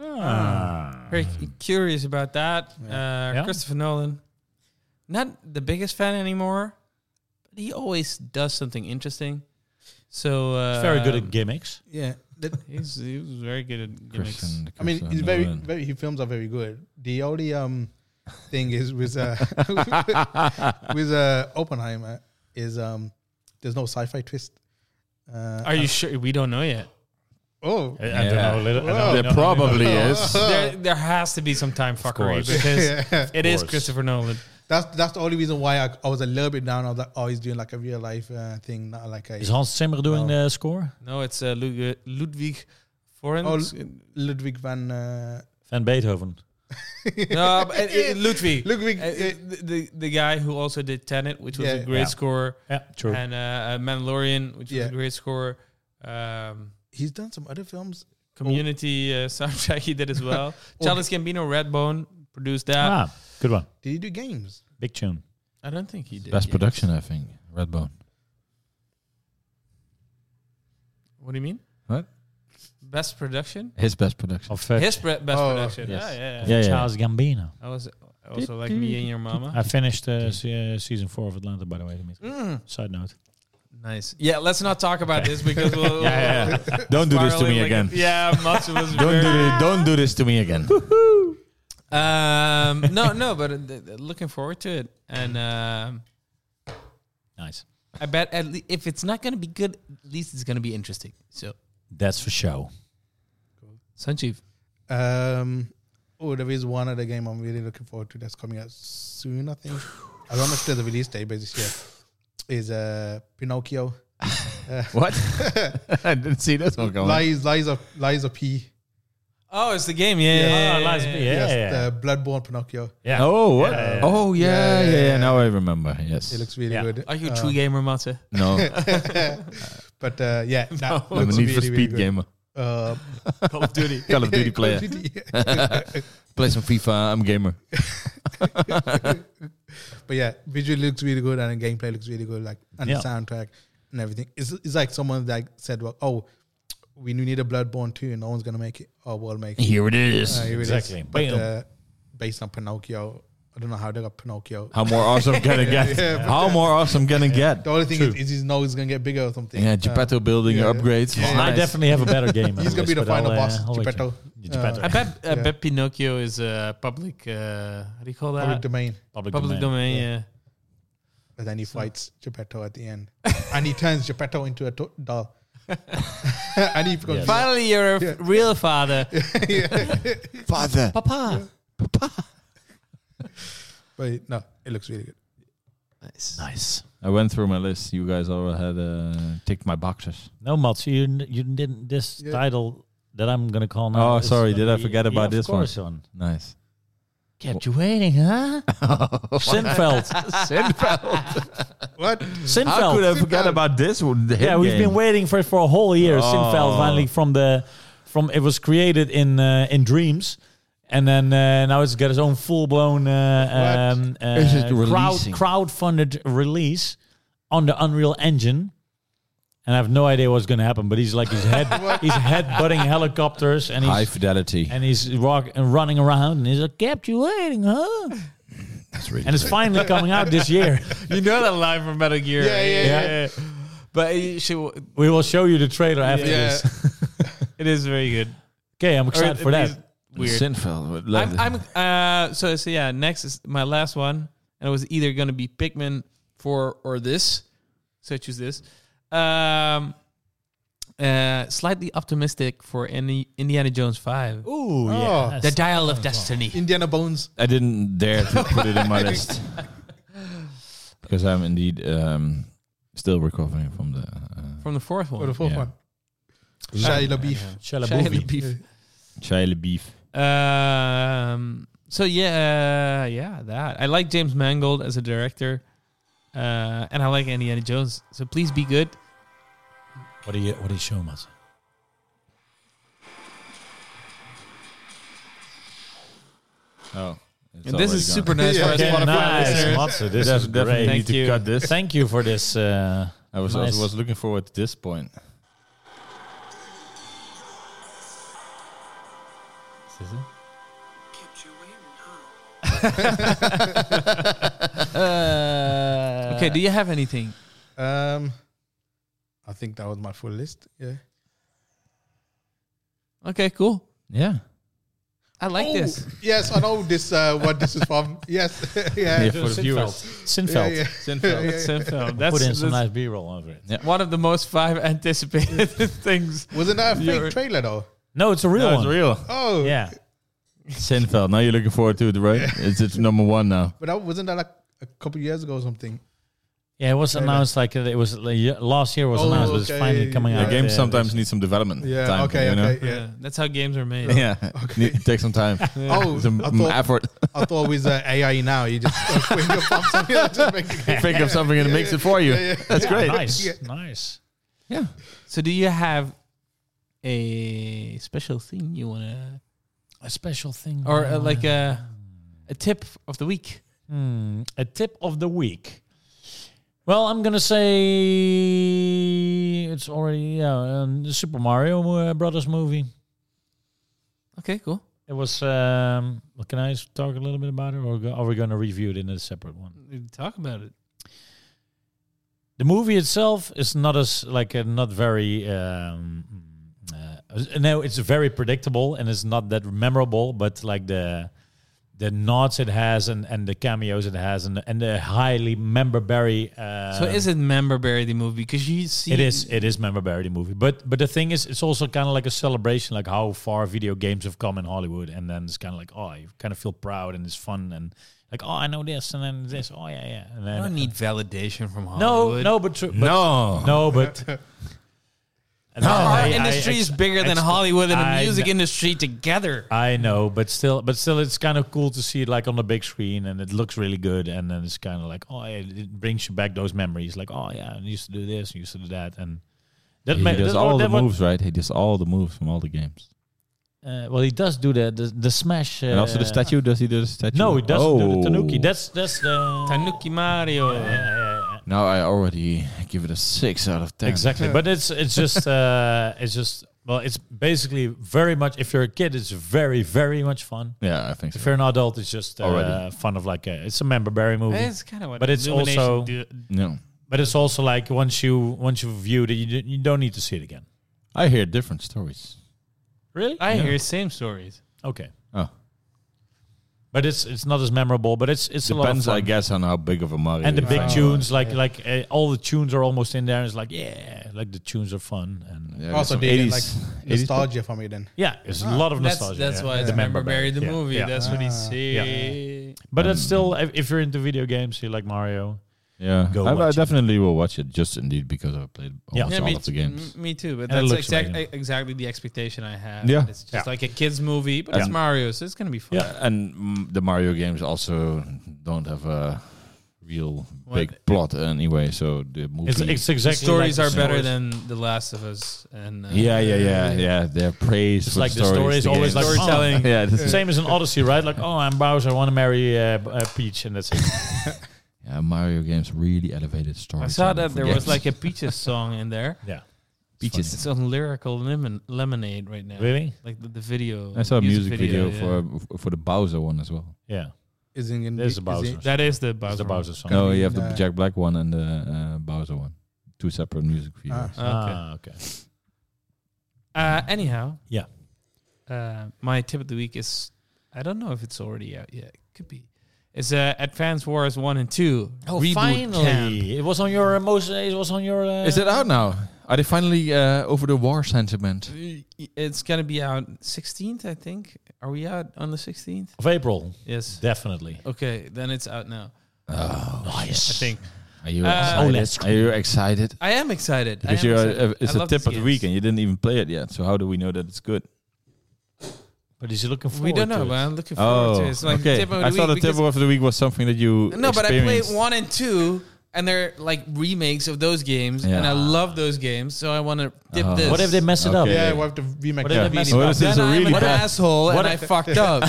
Speaker 2: Ah.
Speaker 4: Very cu- curious about that. Uh,
Speaker 2: Yeah.
Speaker 4: Christopher Nolan, not the biggest fan anymore, but he always does something interesting. So uh,
Speaker 2: He's very good at gimmicks.
Speaker 3: Yeah, that-
Speaker 4: He's, he was very good at gimmicks.
Speaker 1: Christian.
Speaker 3: I mean,
Speaker 1: Christian
Speaker 3: it's very,
Speaker 1: Nolan.
Speaker 3: very. His films are very good. The only um thing is with uh, with uh, Oppenheimer is um there's no sci-fi twist. Uh,
Speaker 4: Are you sure? We don't know yet.
Speaker 3: Oh,
Speaker 2: I, I don't
Speaker 1: Yeah.
Speaker 2: know. a Little, I
Speaker 3: Well,
Speaker 2: don't
Speaker 1: There
Speaker 2: know-
Speaker 1: probably is.
Speaker 4: there, there has to be some time fuckery
Speaker 2: course.
Speaker 4: because
Speaker 3: Uh. yeah.
Speaker 4: it is
Speaker 2: course.
Speaker 4: Christopher Nolan.
Speaker 3: That's that's the only reason why I, I was a little bit down. I was like, oh, he's doing like a real life uh, thing, not like a
Speaker 2: Is Hans Zimmer doing the score?
Speaker 4: No, it's uh, Lud- Ludwig Forens.
Speaker 3: Oh, Ludwig van uh,
Speaker 2: Van Beethoven.
Speaker 4: No, but, uh, uh, Ludwig.
Speaker 3: Ludwig.
Speaker 4: Uh, the, the the guy who also did Tenet, which was
Speaker 3: Yeah.
Speaker 4: a great
Speaker 2: Yeah.
Speaker 4: scorer,
Speaker 2: Yeah, true.
Speaker 4: and uh, uh, Mandalorian, which
Speaker 3: Yeah.
Speaker 4: was a great scorer. Um,
Speaker 3: he's done some other films.
Speaker 4: community uh, soundtrack he did as well. Charles Gambino, Redbone produced that.
Speaker 2: ah, good one.
Speaker 3: Did he do games?
Speaker 2: Big tune.
Speaker 4: I don't think he did.
Speaker 1: Best
Speaker 4: games.
Speaker 1: production, I think. Redbone.
Speaker 4: What do you mean?
Speaker 1: What?
Speaker 4: Best production?
Speaker 1: His best production.
Speaker 2: Of uh,
Speaker 4: His pre- best
Speaker 3: Oh,
Speaker 4: production. Ah,
Speaker 1: yes.
Speaker 4: Yeah, yeah, yeah.
Speaker 1: Yeah, yeah.
Speaker 2: Charles Gambino.
Speaker 4: I was Also, like me and your mama.
Speaker 2: I finished uh, se- uh, season four of Atlanta, by the way. Dimitri.
Speaker 4: Mm,
Speaker 2: Side note.
Speaker 4: nice. Yeah, let's not talk about this because we'll.
Speaker 6: Yeah, yeah, yeah. Don't do this to
Speaker 4: Spiral
Speaker 6: me
Speaker 4: like-
Speaker 6: again.
Speaker 4: Yeah, Mats was
Speaker 1: Don't
Speaker 4: very-
Speaker 1: do this, don't do this to me again.
Speaker 4: Um, no, no, but uh, th- th- looking forward to it, and um,
Speaker 2: Nice.
Speaker 4: I bet at le- if it's not going to be good, at least it's going to be interesting. So,
Speaker 2: That's for show.
Speaker 4: Sanjeev,
Speaker 3: Um, oh, there is one other game I'm really looking forward to that's coming out soon. I think I don't know if there's a release date, but this year is uh, Pinocchio.
Speaker 1: What? I didn't see this one coming.
Speaker 3: Lies, lies of lies of P.
Speaker 4: oh, it's the game, yeah, yeah,
Speaker 2: Yeah,
Speaker 4: yeah,
Speaker 2: lies-
Speaker 4: yeah,
Speaker 2: Ah, yeah,
Speaker 4: yeah.
Speaker 3: yes, uh,
Speaker 2: yeah.
Speaker 3: the Bloodborne Pinocchio.
Speaker 2: yeah.
Speaker 1: Oh, what?
Speaker 2: Yeah.
Speaker 1: Oh, yeah,
Speaker 3: Yeah,
Speaker 1: yeah,
Speaker 3: yeah,
Speaker 1: yeah,
Speaker 3: yeah.
Speaker 1: Now I remember. Yes.
Speaker 3: It looks really
Speaker 2: Yeah.
Speaker 3: good.
Speaker 4: Are you a
Speaker 3: Uh,
Speaker 4: true gamer, Mate?
Speaker 1: no,
Speaker 3: But uh, yeah, that
Speaker 1: I'm a
Speaker 3: looks
Speaker 1: Need for
Speaker 3: really, really
Speaker 1: Speed
Speaker 3: good.
Speaker 1: gamer,
Speaker 3: Uh,
Speaker 4: Call of Duty.
Speaker 1: Call of Duty player. Play some FIFA. I'm gamer.
Speaker 3: But yeah, visually looks really good and the gameplay looks really good, like and
Speaker 2: Yeah.
Speaker 3: the soundtrack and everything. It's, it's like someone that said, "Well, oh, we need a Bloodborne too, and no one's gonna make it. Oh, we'll make it."
Speaker 1: Here it is.
Speaker 3: Uh, here it is.
Speaker 2: Exactly.
Speaker 3: But
Speaker 2: Bam.
Speaker 3: uh, based on Pinocchio, I don't know how they got Pinocchio.
Speaker 1: How more awesome can it get?
Speaker 3: Yeah, but
Speaker 1: How more awesome can it get?
Speaker 3: The only thing is, is his nose is gonna get bigger or something.
Speaker 1: Yeah,
Speaker 3: Uh,
Speaker 1: Geppetto building
Speaker 3: yeah.
Speaker 1: upgrades.
Speaker 3: Yeah.
Speaker 2: I definitely have a better game. on
Speaker 3: he's gonna be
Speaker 2: list, but
Speaker 3: the
Speaker 2: I'll,
Speaker 3: final
Speaker 2: uh,
Speaker 3: boss,
Speaker 2: I'll wait for
Speaker 3: Geppetto.
Speaker 2: it. Geppetto.
Speaker 4: I bet, I
Speaker 3: Yeah.
Speaker 4: bet Pinocchio is a public. Uh, how do you call that?
Speaker 3: Public domain.
Speaker 2: Public,
Speaker 4: Public
Speaker 2: domain.
Speaker 4: domain. yeah.
Speaker 3: And then he fights Geppetto at the end, and he turns Geppetto into a to- doll. and he becomes
Speaker 4: Finally, you're a
Speaker 3: Yeah.
Speaker 4: f- real father,
Speaker 1: Father.
Speaker 4: Papa.
Speaker 3: But no, it looks really good.
Speaker 4: Nice.
Speaker 2: Nice.
Speaker 1: I went through my list. You guys all had uh, ticked my boxes.
Speaker 2: No, Mats, you n- you didn't this
Speaker 3: Yeah.
Speaker 2: title that I'm gonna call now.
Speaker 1: Oh,
Speaker 2: is
Speaker 1: sorry,
Speaker 2: gonna
Speaker 1: did I
Speaker 2: be- E
Speaker 1: forget
Speaker 2: yeah,
Speaker 1: about
Speaker 2: of
Speaker 1: this one?
Speaker 2: course, one?
Speaker 1: Nice.
Speaker 2: Kept you waiting, huh?
Speaker 3: Oh,
Speaker 2: Sinfeld.
Speaker 1: Sinfeld.
Speaker 3: What?
Speaker 2: Sinfeld.
Speaker 1: How could I forget
Speaker 3: Sinfeld.
Speaker 1: about this one? The hit
Speaker 2: yeah, we've
Speaker 1: game.
Speaker 2: been waiting for it for a whole year. Sinfeld
Speaker 1: Oh.
Speaker 2: finally from the from it was created in uh, in dreams, and then uh, now it's got its own full blown uh,
Speaker 3: What?
Speaker 2: um, uh,
Speaker 1: Is it
Speaker 2: crowd
Speaker 1: releasing?
Speaker 2: crowd funded release on the Unreal Engine. And I have no idea what's going to happen, but he's like he's head he's head butting helicopters and
Speaker 1: High
Speaker 2: he's
Speaker 1: fidelity.
Speaker 2: and he's rock and running around and he's like kept you waiting, huh?
Speaker 1: That's really
Speaker 2: And it's finally coming out this year.
Speaker 4: You know that line from Metal Gear.
Speaker 3: Yeah,
Speaker 4: right?
Speaker 3: yeah,
Speaker 2: yeah.
Speaker 4: But you should,
Speaker 2: We will show you the trailer after
Speaker 3: Yeah.
Speaker 2: this.
Speaker 4: it is very good.
Speaker 2: Okay, I'm
Speaker 4: Or
Speaker 2: excited
Speaker 4: at
Speaker 2: for
Speaker 4: least
Speaker 2: that.
Speaker 4: Weird.
Speaker 1: Sinfeld.
Speaker 4: I'm, I'm uh, so so yeah. Next is my last one, and it was either going to be Pikmin four or this, so I choose this. Um, uh, slightly optimistic for any Indiana Jones five,
Speaker 2: Ooh,
Speaker 3: Oh.
Speaker 2: yeah.
Speaker 4: the Dial of Destiny.
Speaker 3: Indiana Bones.
Speaker 1: I didn't dare to put it in my list because I'm indeed um, still recovering from the. Uh,
Speaker 4: From the fourth
Speaker 3: Or
Speaker 4: one,
Speaker 3: the fourth
Speaker 1: Yeah.
Speaker 3: one. Shia LaBeouf.
Speaker 2: Shia
Speaker 4: Shia
Speaker 2: LaBeouf.
Speaker 4: LaBeouf.
Speaker 1: Child beef.
Speaker 4: Um, so yeah, uh, yeah, that I like James Mangold as a director, uh, and I like Indiana Jones. So please be good.
Speaker 2: What are you What are you showing us?
Speaker 1: Oh,
Speaker 4: And this is super nice
Speaker 3: Yeah,
Speaker 4: for us
Speaker 3: okay,
Speaker 4: Spotify
Speaker 2: nice,
Speaker 4: listeners.
Speaker 2: Matze, This
Speaker 1: That's
Speaker 2: is
Speaker 1: definitely
Speaker 2: great.
Speaker 4: Thank
Speaker 1: need to
Speaker 4: you.
Speaker 1: cut this.
Speaker 2: Thank you for this. Uh,
Speaker 1: I was
Speaker 2: nice.
Speaker 1: I was looking forward to this point.
Speaker 4: Uh, Okay, do you have anything?
Speaker 3: Um, I think that was my full list. Yeah.
Speaker 4: Okay, cool.
Speaker 1: Yeah.
Speaker 4: I like
Speaker 3: Oh,
Speaker 4: this.
Speaker 3: Yes, I know this. Uh, what this is from? Yes. yeah.
Speaker 1: Yeah,
Speaker 3: Yeah.
Speaker 1: for the viewers.
Speaker 2: Sinfeld.
Speaker 3: Yeah. yeah.
Speaker 1: Sinfeld.
Speaker 4: That's Sinfeld.
Speaker 2: Put in
Speaker 4: That's,
Speaker 2: some
Speaker 4: that's
Speaker 2: nice B-roll over it.
Speaker 4: one of the most five anticipated things.
Speaker 3: Wasn't that a fake
Speaker 4: You're-
Speaker 3: trailer though?
Speaker 2: No, it's a real
Speaker 1: No,
Speaker 2: one.
Speaker 1: it's real.
Speaker 3: Oh,
Speaker 2: Yeah.
Speaker 1: Sinfeld. Now you're looking forward to it, right? It's it's number one now.
Speaker 3: But that wasn't that like a couple years ago or something?
Speaker 2: Yeah, it was
Speaker 3: Trailer.
Speaker 2: announced like uh, it was like, yeah, last year was
Speaker 3: Oh,
Speaker 2: announced, but it's
Speaker 3: okay,
Speaker 2: finally
Speaker 3: yeah,
Speaker 2: coming
Speaker 3: yeah.
Speaker 2: out.
Speaker 1: The game
Speaker 2: uh,
Speaker 1: sometimes needs some development.
Speaker 3: Yeah.
Speaker 1: time,
Speaker 3: okay.
Speaker 1: you know?
Speaker 3: Okay.
Speaker 4: Yeah.
Speaker 3: Yeah.
Speaker 4: that's how games are made.
Speaker 1: Yeah, Need- take some time,
Speaker 3: Oh,
Speaker 1: some
Speaker 3: I thought
Speaker 1: effort.
Speaker 3: I thought with uh, AI now you just when you pop something, you just make it.
Speaker 1: Think of something and it makes it for you. That's
Speaker 2: yeah,
Speaker 1: great.
Speaker 2: Nice,
Speaker 3: Yeah.
Speaker 2: nice.
Speaker 1: Yeah,
Speaker 4: So, do you have a special thing you want to,
Speaker 2: A special thing,
Speaker 4: or
Speaker 2: uh,
Speaker 4: uh, like a, a tip of the week?
Speaker 2: Hmm, a tip of the week. Well, I'm gonna say it's already yeah, um, the Super Mario uh, Brothers movie.
Speaker 4: Okay, cool.
Speaker 2: It was. Um, well, can I s- talk a little bit about it, or go- are we going to review it in a separate one?
Speaker 4: Talk about it.
Speaker 2: the movie itself is not as like uh, not very um uh, no it's very predictable and it's not that memorable but like the the nods it has and and the cameos it has and and the highly member berry uh
Speaker 4: So is it member berry the movie? Because you see,
Speaker 2: it is it is member berry the movie but but the thing is it's also kind of like a celebration like how far video games have come in hollywood and then it's kind of like oh you kind of feel proud and it's fun and like oh i know this and then this oh yeah yeah and
Speaker 4: I
Speaker 2: then
Speaker 4: don't need validation from
Speaker 2: no
Speaker 4: Hollywood.
Speaker 2: no but, true, but
Speaker 7: no.
Speaker 2: no, but
Speaker 4: The art
Speaker 2: I-
Speaker 4: industry
Speaker 2: I-
Speaker 4: is bigger than
Speaker 2: ex-
Speaker 4: Hollywood and the
Speaker 2: I
Speaker 4: music
Speaker 2: kn-
Speaker 4: industry together.
Speaker 2: I know, but still, but still, it's kind of cool to see it like on the big screen, and it looks really good. And then it's kind of like, oh, yeah, it brings you back those memories. Like, oh yeah, I used to do this, I used to do that, and that
Speaker 1: He
Speaker 2: ma-
Speaker 1: does
Speaker 2: that-
Speaker 1: all the
Speaker 2: that one-
Speaker 1: moves, right? He does all the moves from all the games.
Speaker 2: Uh, well, he does do the the, the smash. Uh,
Speaker 1: and also the statue. Does he do the statue?
Speaker 2: No, he doesn't do the tanuki.
Speaker 1: Oh.
Speaker 2: That's that's the
Speaker 4: Tanuki Mario.
Speaker 1: Now I already give it a six out of ten.
Speaker 2: Exactly, but it's it's just uh, it's just well, it's basically very much. If you're a kid, it's very very much fun.
Speaker 1: Yeah, I think so.
Speaker 2: If you're an adult, it's just uh,
Speaker 1: Already.
Speaker 2: fun of like a, it's a member berry movie.
Speaker 4: That's kind of what.
Speaker 2: But it's
Speaker 4: Illumination
Speaker 2: also-
Speaker 4: do.
Speaker 1: No,
Speaker 2: but it's also like once you once you view it, you, d- you don't need to see it again.
Speaker 1: I hear different stories.
Speaker 2: Really?
Speaker 4: I hear same stories.
Speaker 2: Okay,
Speaker 1: Oh,
Speaker 2: but it's it's not as memorable. But it's it's
Speaker 1: depends,
Speaker 2: a lot
Speaker 1: I
Speaker 2: of fun.
Speaker 1: guess, on how big of a Mario.
Speaker 2: And the
Speaker 1: you
Speaker 2: big
Speaker 1: are.
Speaker 2: tunes, like like uh, all the tunes are almost in there. And it's like yeah, like the tunes are fun and
Speaker 1: Yeah,
Speaker 3: also
Speaker 1: some
Speaker 3: did it,
Speaker 1: 80s
Speaker 3: like nostalgia for me then.
Speaker 2: yeah, it's a lot of
Speaker 4: Ah, That's
Speaker 2: nostalgia.
Speaker 4: that's
Speaker 2: yeah.
Speaker 4: why it's
Speaker 2: Yeah.
Speaker 4: member Ah. berry the
Speaker 2: Yeah.
Speaker 4: movie.
Speaker 2: Yeah.
Speaker 4: That's Mm. what he see.
Speaker 2: But it's still if, if you're into video games, you like Mario.
Speaker 1: Yeah,
Speaker 2: Go
Speaker 1: I, I
Speaker 2: watch it.
Speaker 1: definitely will watch it. Just indeed because I played
Speaker 2: Yeah.
Speaker 1: almost
Speaker 2: Yeah, Mm.
Speaker 1: all
Speaker 4: me,
Speaker 1: of the games.
Speaker 4: m- me too. But
Speaker 2: And it
Speaker 4: that's
Speaker 2: looks
Speaker 4: exact,
Speaker 2: amazing.
Speaker 4: exactly the expectation I have.
Speaker 1: Yeah.
Speaker 4: It's just
Speaker 2: Yeah.
Speaker 4: like a kids movie, but it's
Speaker 2: Yeah.
Speaker 4: Mario, so it's gonna be fun.
Speaker 2: Yeah.
Speaker 1: And mm, the Mario games also don't have a real
Speaker 4: What-
Speaker 1: big plot anyway. So the movie.
Speaker 2: It's, it's exactly
Speaker 4: the stories
Speaker 2: like
Speaker 4: are
Speaker 2: the
Speaker 4: better
Speaker 2: stories.
Speaker 4: than The Last of Us. And uh,
Speaker 1: yeah, yeah, yeah, yeah. They're praised.
Speaker 2: It's
Speaker 1: for
Speaker 2: like the story is
Speaker 1: games.
Speaker 2: always like storytelling.
Speaker 1: yeah, this is-
Speaker 2: Same as an Odyssey, right? Like, oh, I'm Bowser, I want to marry uh, B- uh, Peach, and that's it.
Speaker 1: yeah, Mario games really elevated story.
Speaker 4: I saw that there was like a Peaches song in there.
Speaker 2: Yeah,
Speaker 1: Peaches.
Speaker 4: It's on lyrical lemon, lemonade right now.
Speaker 2: really?
Speaker 4: Like the, the video.
Speaker 1: I saw a music, video,
Speaker 4: yeah.
Speaker 1: for for the Bowser one as well.
Speaker 2: Yeah,
Speaker 3: Is it gonna
Speaker 2: There's
Speaker 3: be-
Speaker 2: a Bowser.
Speaker 3: is it-
Speaker 4: That is the
Speaker 2: it's
Speaker 4: Bowser.
Speaker 2: the Bowser song.
Speaker 1: Oh, you have the
Speaker 3: Yeah.
Speaker 1: Jack Black one and the uh, Bowser one. Two separate music videos.
Speaker 4: Okay.
Speaker 2: Ah, okay.
Speaker 4: Uh, anyhow.
Speaker 2: Yeah.
Speaker 4: Uh, my tip of the week is I don't know if it's already out yet. Could be. It's uh, Advance Wars One and Two.
Speaker 2: Oh,
Speaker 4: Reboot Camp.
Speaker 2: It was on your uh, most. It was on your. Uh,
Speaker 1: Is it out now? Are they finally uh, over the war sentiment?
Speaker 4: It's gonna be out 16th, I think. Are we out on the 16th?
Speaker 2: of April?
Speaker 4: Yes.
Speaker 2: Definitely.
Speaker 4: Okay, then it's out now. I
Speaker 2: Nice.
Speaker 4: think
Speaker 1: Oh, Are you
Speaker 4: Uh,
Speaker 1: excited?
Speaker 2: OLED
Speaker 1: Are you excited?
Speaker 4: I am excited. I
Speaker 1: Because
Speaker 4: am
Speaker 1: you're,
Speaker 4: excited.
Speaker 1: uh,
Speaker 4: I
Speaker 1: it's a
Speaker 4: love
Speaker 1: tip
Speaker 4: these
Speaker 1: of the
Speaker 4: games.
Speaker 1: week and you didn't even play it yet. So how do we know that it's good?
Speaker 2: But is he looking forward?
Speaker 4: We don't know,
Speaker 2: to
Speaker 4: but
Speaker 2: it?
Speaker 4: I'm looking forward to it. It's like
Speaker 1: Oh, okay.
Speaker 4: tip of the
Speaker 1: I
Speaker 4: week
Speaker 1: thought the tip
Speaker 4: because-
Speaker 1: of the week was something that you
Speaker 4: No, but I played
Speaker 1: experienced.
Speaker 4: one and two, and they're like remakes of those games, and
Speaker 1: Yeah.
Speaker 4: I love those games, so I want to dip
Speaker 1: Oh.
Speaker 4: this.
Speaker 2: What if they mess it
Speaker 1: Okay.
Speaker 2: up?
Speaker 3: yeah, we have to remake
Speaker 2: But then
Speaker 3: the
Speaker 2: it messes
Speaker 3: video.
Speaker 1: up. This is
Speaker 4: then
Speaker 1: a
Speaker 4: I'm
Speaker 1: really
Speaker 4: an
Speaker 1: bad-
Speaker 4: asshole, and
Speaker 2: What
Speaker 4: I fucked up.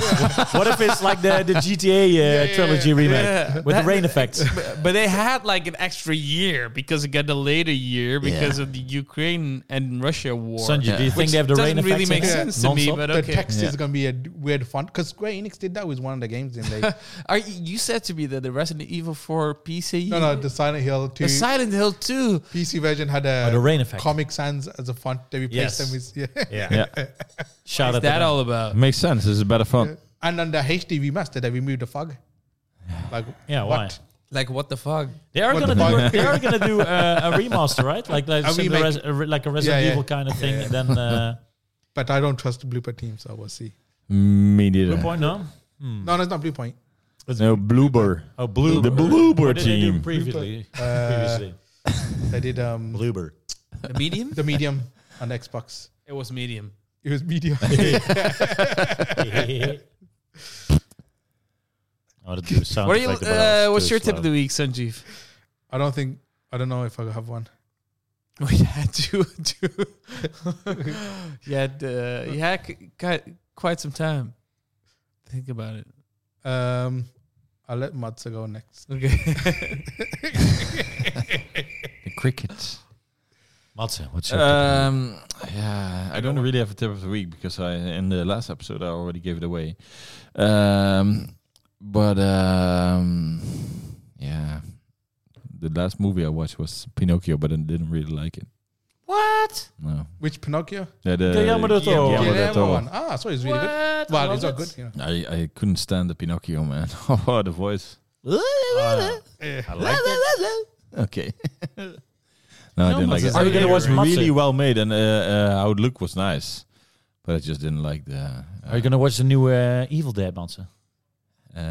Speaker 2: what if it's like the the GTA uh, trilogy remake
Speaker 4: yeah.
Speaker 2: with the rain effects?
Speaker 4: but, but they had like an extra year because it got delayed a year because of the Ukraine and Russia war.
Speaker 2: Sanjay, do you
Speaker 1: Yeah.
Speaker 2: think they have the
Speaker 4: doesn't
Speaker 2: rain effects?
Speaker 4: really make
Speaker 2: in it?
Speaker 4: sense to me,
Speaker 2: Non-stop?
Speaker 4: but
Speaker 3: The
Speaker 4: okay.
Speaker 3: text
Speaker 1: Yeah.
Speaker 3: is gonna be a d- weird font because Square Enix did that with one of the games, didn't they?
Speaker 4: Are you, you said to me that the Resident Evil 4 PC,
Speaker 3: no, no, the Silent Hill
Speaker 4: the
Speaker 3: two
Speaker 4: Silent Hill 2,
Speaker 3: PC version had a
Speaker 2: Oh, the rain effect.
Speaker 3: Comic Sans as a font that we
Speaker 2: Yes.
Speaker 3: placed them with. Yeah.
Speaker 2: yeah.
Speaker 1: Yeah,
Speaker 2: Shout out
Speaker 4: what's
Speaker 2: to
Speaker 4: that
Speaker 2: them.
Speaker 4: all about?
Speaker 1: makes sense. This is better fun.
Speaker 3: And on the HD remaster, they removed the fog. Like
Speaker 2: Yeah,
Speaker 3: what?
Speaker 2: why?
Speaker 4: Like, what the fuck?
Speaker 2: They are
Speaker 3: What
Speaker 2: gonna
Speaker 3: the
Speaker 2: do.
Speaker 3: fuck?
Speaker 2: they are gonna do uh, a remaster, right? Like like,
Speaker 3: A
Speaker 2: similar
Speaker 3: remake.
Speaker 2: res- a re- like a Resident
Speaker 3: Yeah, yeah.
Speaker 2: Evel kind of thing. And then uh,
Speaker 3: But I don't trust Blooper Team, so we'll see.
Speaker 1: Me neither.
Speaker 2: Blue Point, no.
Speaker 3: No, no, it's not Blue Point.
Speaker 1: No, Bloober.
Speaker 2: Oh, Blue.
Speaker 1: The Bloober
Speaker 2: What did they do
Speaker 1: team.
Speaker 2: previously?
Speaker 3: Uh,
Speaker 2: previously.
Speaker 3: they did um,
Speaker 2: Bloober.
Speaker 4: The medium?
Speaker 3: the medium on Xbox.
Speaker 4: it was medium.
Speaker 3: It was medium.
Speaker 2: I wanted to do sound
Speaker 4: What are you,
Speaker 2: effect, but I
Speaker 4: uh,
Speaker 2: was
Speaker 4: what's
Speaker 2: too
Speaker 4: your tip of
Speaker 2: slow.
Speaker 4: the week, Sanjeev?
Speaker 3: I don't think I don't know if I have one.
Speaker 4: We had to do. you had uh, you had c- quite- quite some time. Think about it.
Speaker 3: Um, I'll let Matza go next.
Speaker 4: Okay.
Speaker 1: The crickets.
Speaker 2: Matze, what's your um,
Speaker 1: Um, yeah, I don't really have a tip of the week because I in the last episode I already gave it away. Um, but um, yeah, the last movie I watched was Pinocchio, but I didn't really like it.
Speaker 4: What?
Speaker 1: No,
Speaker 3: Which Pinocchio?
Speaker 1: yeah, the,
Speaker 2: Guillermo del Toro.
Speaker 1: Guillermo
Speaker 3: Oh, Yeah,
Speaker 1: del Toro.
Speaker 3: one. Ah, so it's really good.
Speaker 4: What?
Speaker 3: Well,
Speaker 4: I
Speaker 3: it's
Speaker 4: love
Speaker 3: not
Speaker 4: it.
Speaker 3: good. You know.
Speaker 1: I I couldn't stand the Pinocchio man. oh, the voice.
Speaker 4: Uh,
Speaker 3: Ah.
Speaker 2: I like it.
Speaker 1: Okay. no, I didn't like
Speaker 2: but
Speaker 1: it.
Speaker 2: it's Are you gonna watch Matze?
Speaker 1: really well made and uh, uh, how it looked was nice, but I just didn't like the. Uh,
Speaker 2: Are you gonna watch the new uh, Evil Dead, Matze?
Speaker 1: uh,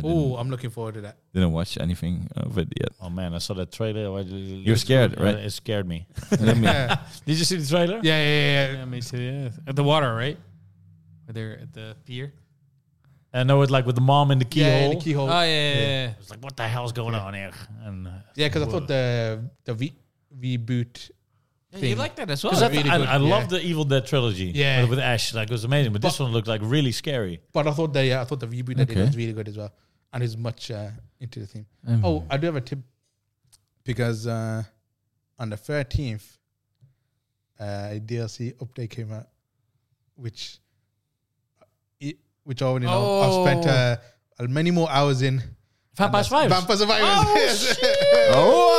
Speaker 1: didn't-
Speaker 3: Oh, I'm looking forward to that.
Speaker 1: didn't watch anything of it yet.
Speaker 2: Oh man, I saw that trailer. I-
Speaker 1: You're scared, right?
Speaker 2: It scared me.
Speaker 1: Let me-
Speaker 3: Yeah,
Speaker 2: Did you see the trailer?
Speaker 3: yeah, yeah, yeah.
Speaker 4: Yeah, me too. Yeah. At the water, right? Where they're at the pier.
Speaker 2: And know it like with the mom in the keyhole.
Speaker 3: Yeah, the keyhole.
Speaker 4: Oh yeah, yeah, yeah.
Speaker 2: It's like what the hell's going on here? And uh,
Speaker 3: Yeah, because I thought the the re- reboot.
Speaker 4: Yeah, you
Speaker 3: Thing.
Speaker 4: like that as
Speaker 2: 'cause
Speaker 4: well.
Speaker 2: I,
Speaker 3: Really
Speaker 2: I,
Speaker 3: good,
Speaker 2: I
Speaker 3: yeah.
Speaker 2: love the Evil Dead trilogy.
Speaker 3: Yeah.
Speaker 2: with, with Ash, like it was amazing. But, this one looked like really scary.
Speaker 3: But I thought the yeah, I thought the reboot that they did
Speaker 1: Okay.
Speaker 3: was really good as well, and is much uh, into the theme. Oh, I do have a tip because uh, on the thirteenth, uh, a DLC update came out, which i- which I already know. I've
Speaker 4: Oh.
Speaker 3: spent uh, uh, many more hours in
Speaker 4: Vampire Survivors.
Speaker 3: Vampire Survivors. Yes.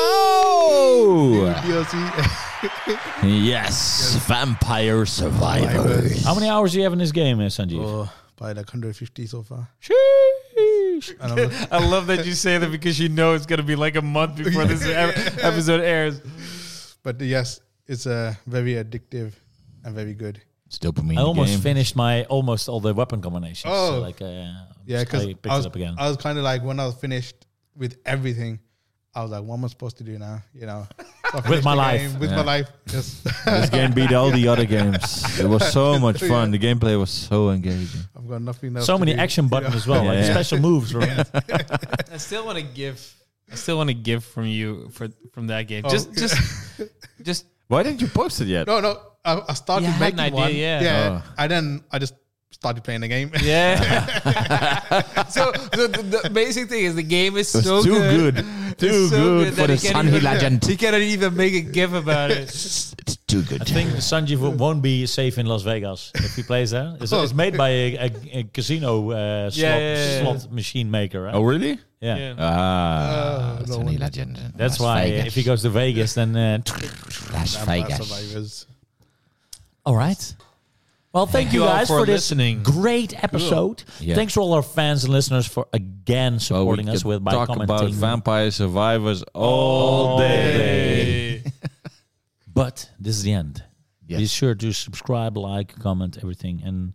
Speaker 1: Oh!
Speaker 3: DLC.
Speaker 8: Yes, vampire survivors.
Speaker 2: How many hours do you have in this game, uh, Sanjeev?
Speaker 3: oh, by like 150 so far. And I'm look-
Speaker 4: I love that you say that because you know it's gonna be like a month before this e- episode airs.
Speaker 3: but yes, it's uh, very addictive and very good.
Speaker 8: It's dopamine.
Speaker 2: I almost
Speaker 8: game.
Speaker 2: finished my almost all the weapon combinations.
Speaker 3: Oh.
Speaker 2: so like uh,
Speaker 3: Yeah,
Speaker 2: just-
Speaker 3: because
Speaker 2: I
Speaker 3: I,
Speaker 2: picked
Speaker 3: was,
Speaker 2: it up again.
Speaker 3: I was kind of like when I was finished with everything, I was like, "What am I supposed to do now?" You know, So I finished
Speaker 2: my
Speaker 3: the
Speaker 2: life.
Speaker 3: game, with my
Speaker 1: Yeah.
Speaker 3: life, just
Speaker 1: this game beat all the other games. It was so much fun. The gameplay was so engaging.
Speaker 3: I've got nothing else.
Speaker 2: so
Speaker 3: to
Speaker 2: many
Speaker 3: do.
Speaker 2: action buttons as well, like
Speaker 1: Yeah.
Speaker 2: special moves. Right?
Speaker 4: I still want to give. I still want to give from you for from that game.
Speaker 3: Oh,
Speaker 4: just,
Speaker 3: yeah.
Speaker 4: just, just.
Speaker 1: Why didn't you post it yet?
Speaker 3: No, no, I, I started
Speaker 4: You had
Speaker 3: making
Speaker 4: an idea,
Speaker 3: one.
Speaker 4: yeah.
Speaker 2: Oh.
Speaker 3: and then I just started playing the game.
Speaker 4: Yeah. so the, the, the basic thing is the game is
Speaker 1: It was
Speaker 4: so
Speaker 1: too
Speaker 4: good.
Speaker 1: good. Too
Speaker 4: so
Speaker 1: good, for
Speaker 4: that
Speaker 1: the
Speaker 4: he can't
Speaker 1: Sunny
Speaker 4: even-
Speaker 1: legend.
Speaker 4: You cannot even make a gif about it.
Speaker 8: It's too good.
Speaker 2: I think Sanjeev wo- won't be safe in Las Vegas if he plays there. It's, it's made by a, a, a casino uh, slot,
Speaker 4: Yeah, yeah, yeah, yeah.
Speaker 2: slot machine maker, right?
Speaker 1: Oh, really?
Speaker 2: yeah.
Speaker 1: Ah.
Speaker 3: Uh,
Speaker 8: It's
Speaker 3: no
Speaker 8: only
Speaker 3: wonder.
Speaker 8: legend.
Speaker 2: That's
Speaker 8: Las
Speaker 2: why uh,
Speaker 8: Vegas.
Speaker 2: if he goes to Vegas, then uh,
Speaker 8: Las
Speaker 3: Vampire
Speaker 8: Vegas.
Speaker 3: Survivors.
Speaker 2: all right. Well, thank, you
Speaker 4: you all
Speaker 2: guys
Speaker 4: for
Speaker 2: for, this
Speaker 4: listening.
Speaker 2: great episode.
Speaker 1: Yeah.
Speaker 2: Thanks to all our fans and listeners for
Speaker 1: Well,
Speaker 2: again
Speaker 1: we
Speaker 2: supporting us
Speaker 1: could
Speaker 2: with by
Speaker 1: talk
Speaker 2: commenting.
Speaker 1: about vampire survivors all day.
Speaker 2: But this is the end. Be sure to subscribe, like, comment, everything, and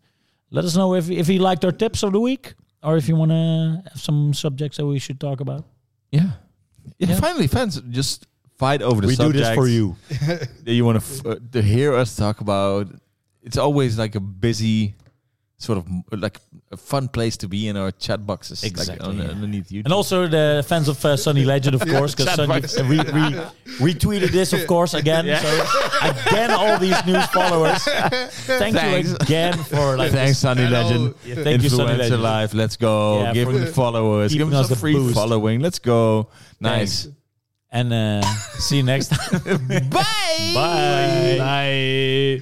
Speaker 2: let us know if if you liked our tips of the week, or if you want to have some subjects that we should talk about.
Speaker 1: Yeah. yeah.
Speaker 2: Yeah.
Speaker 1: Finally, fans just fight over the subject
Speaker 2: you.
Speaker 1: that you want to f- uh, to hear us talk about. It's always like a busy, sort of m- like a fun place to be in our chat boxes,
Speaker 2: Exactly,
Speaker 1: like on,
Speaker 2: yeah.
Speaker 1: underneath YouTube.
Speaker 2: And also the fans of uh, Sunny Legend, of course, because Sunny re, re, retweeted this, of course, again. So again, all these new followers. Thank you
Speaker 1: Thanks.
Speaker 2: again for like
Speaker 1: Thanks, Sunny
Speaker 3: Hello.
Speaker 1: Legend.
Speaker 2: Yeah, thank you, Sunny
Speaker 1: Influencer
Speaker 2: Legend.
Speaker 1: life. Let's go.
Speaker 2: Yeah,
Speaker 1: give
Speaker 2: for
Speaker 1: him the followers.
Speaker 2: keeping
Speaker 1: Give us
Speaker 2: us
Speaker 1: a
Speaker 2: the
Speaker 1: free
Speaker 2: boost.
Speaker 1: following. Let's go.
Speaker 2: Thanks.
Speaker 1: Nice.
Speaker 2: and uh, see you next time.
Speaker 1: Bye.
Speaker 2: Bye.
Speaker 4: Bye.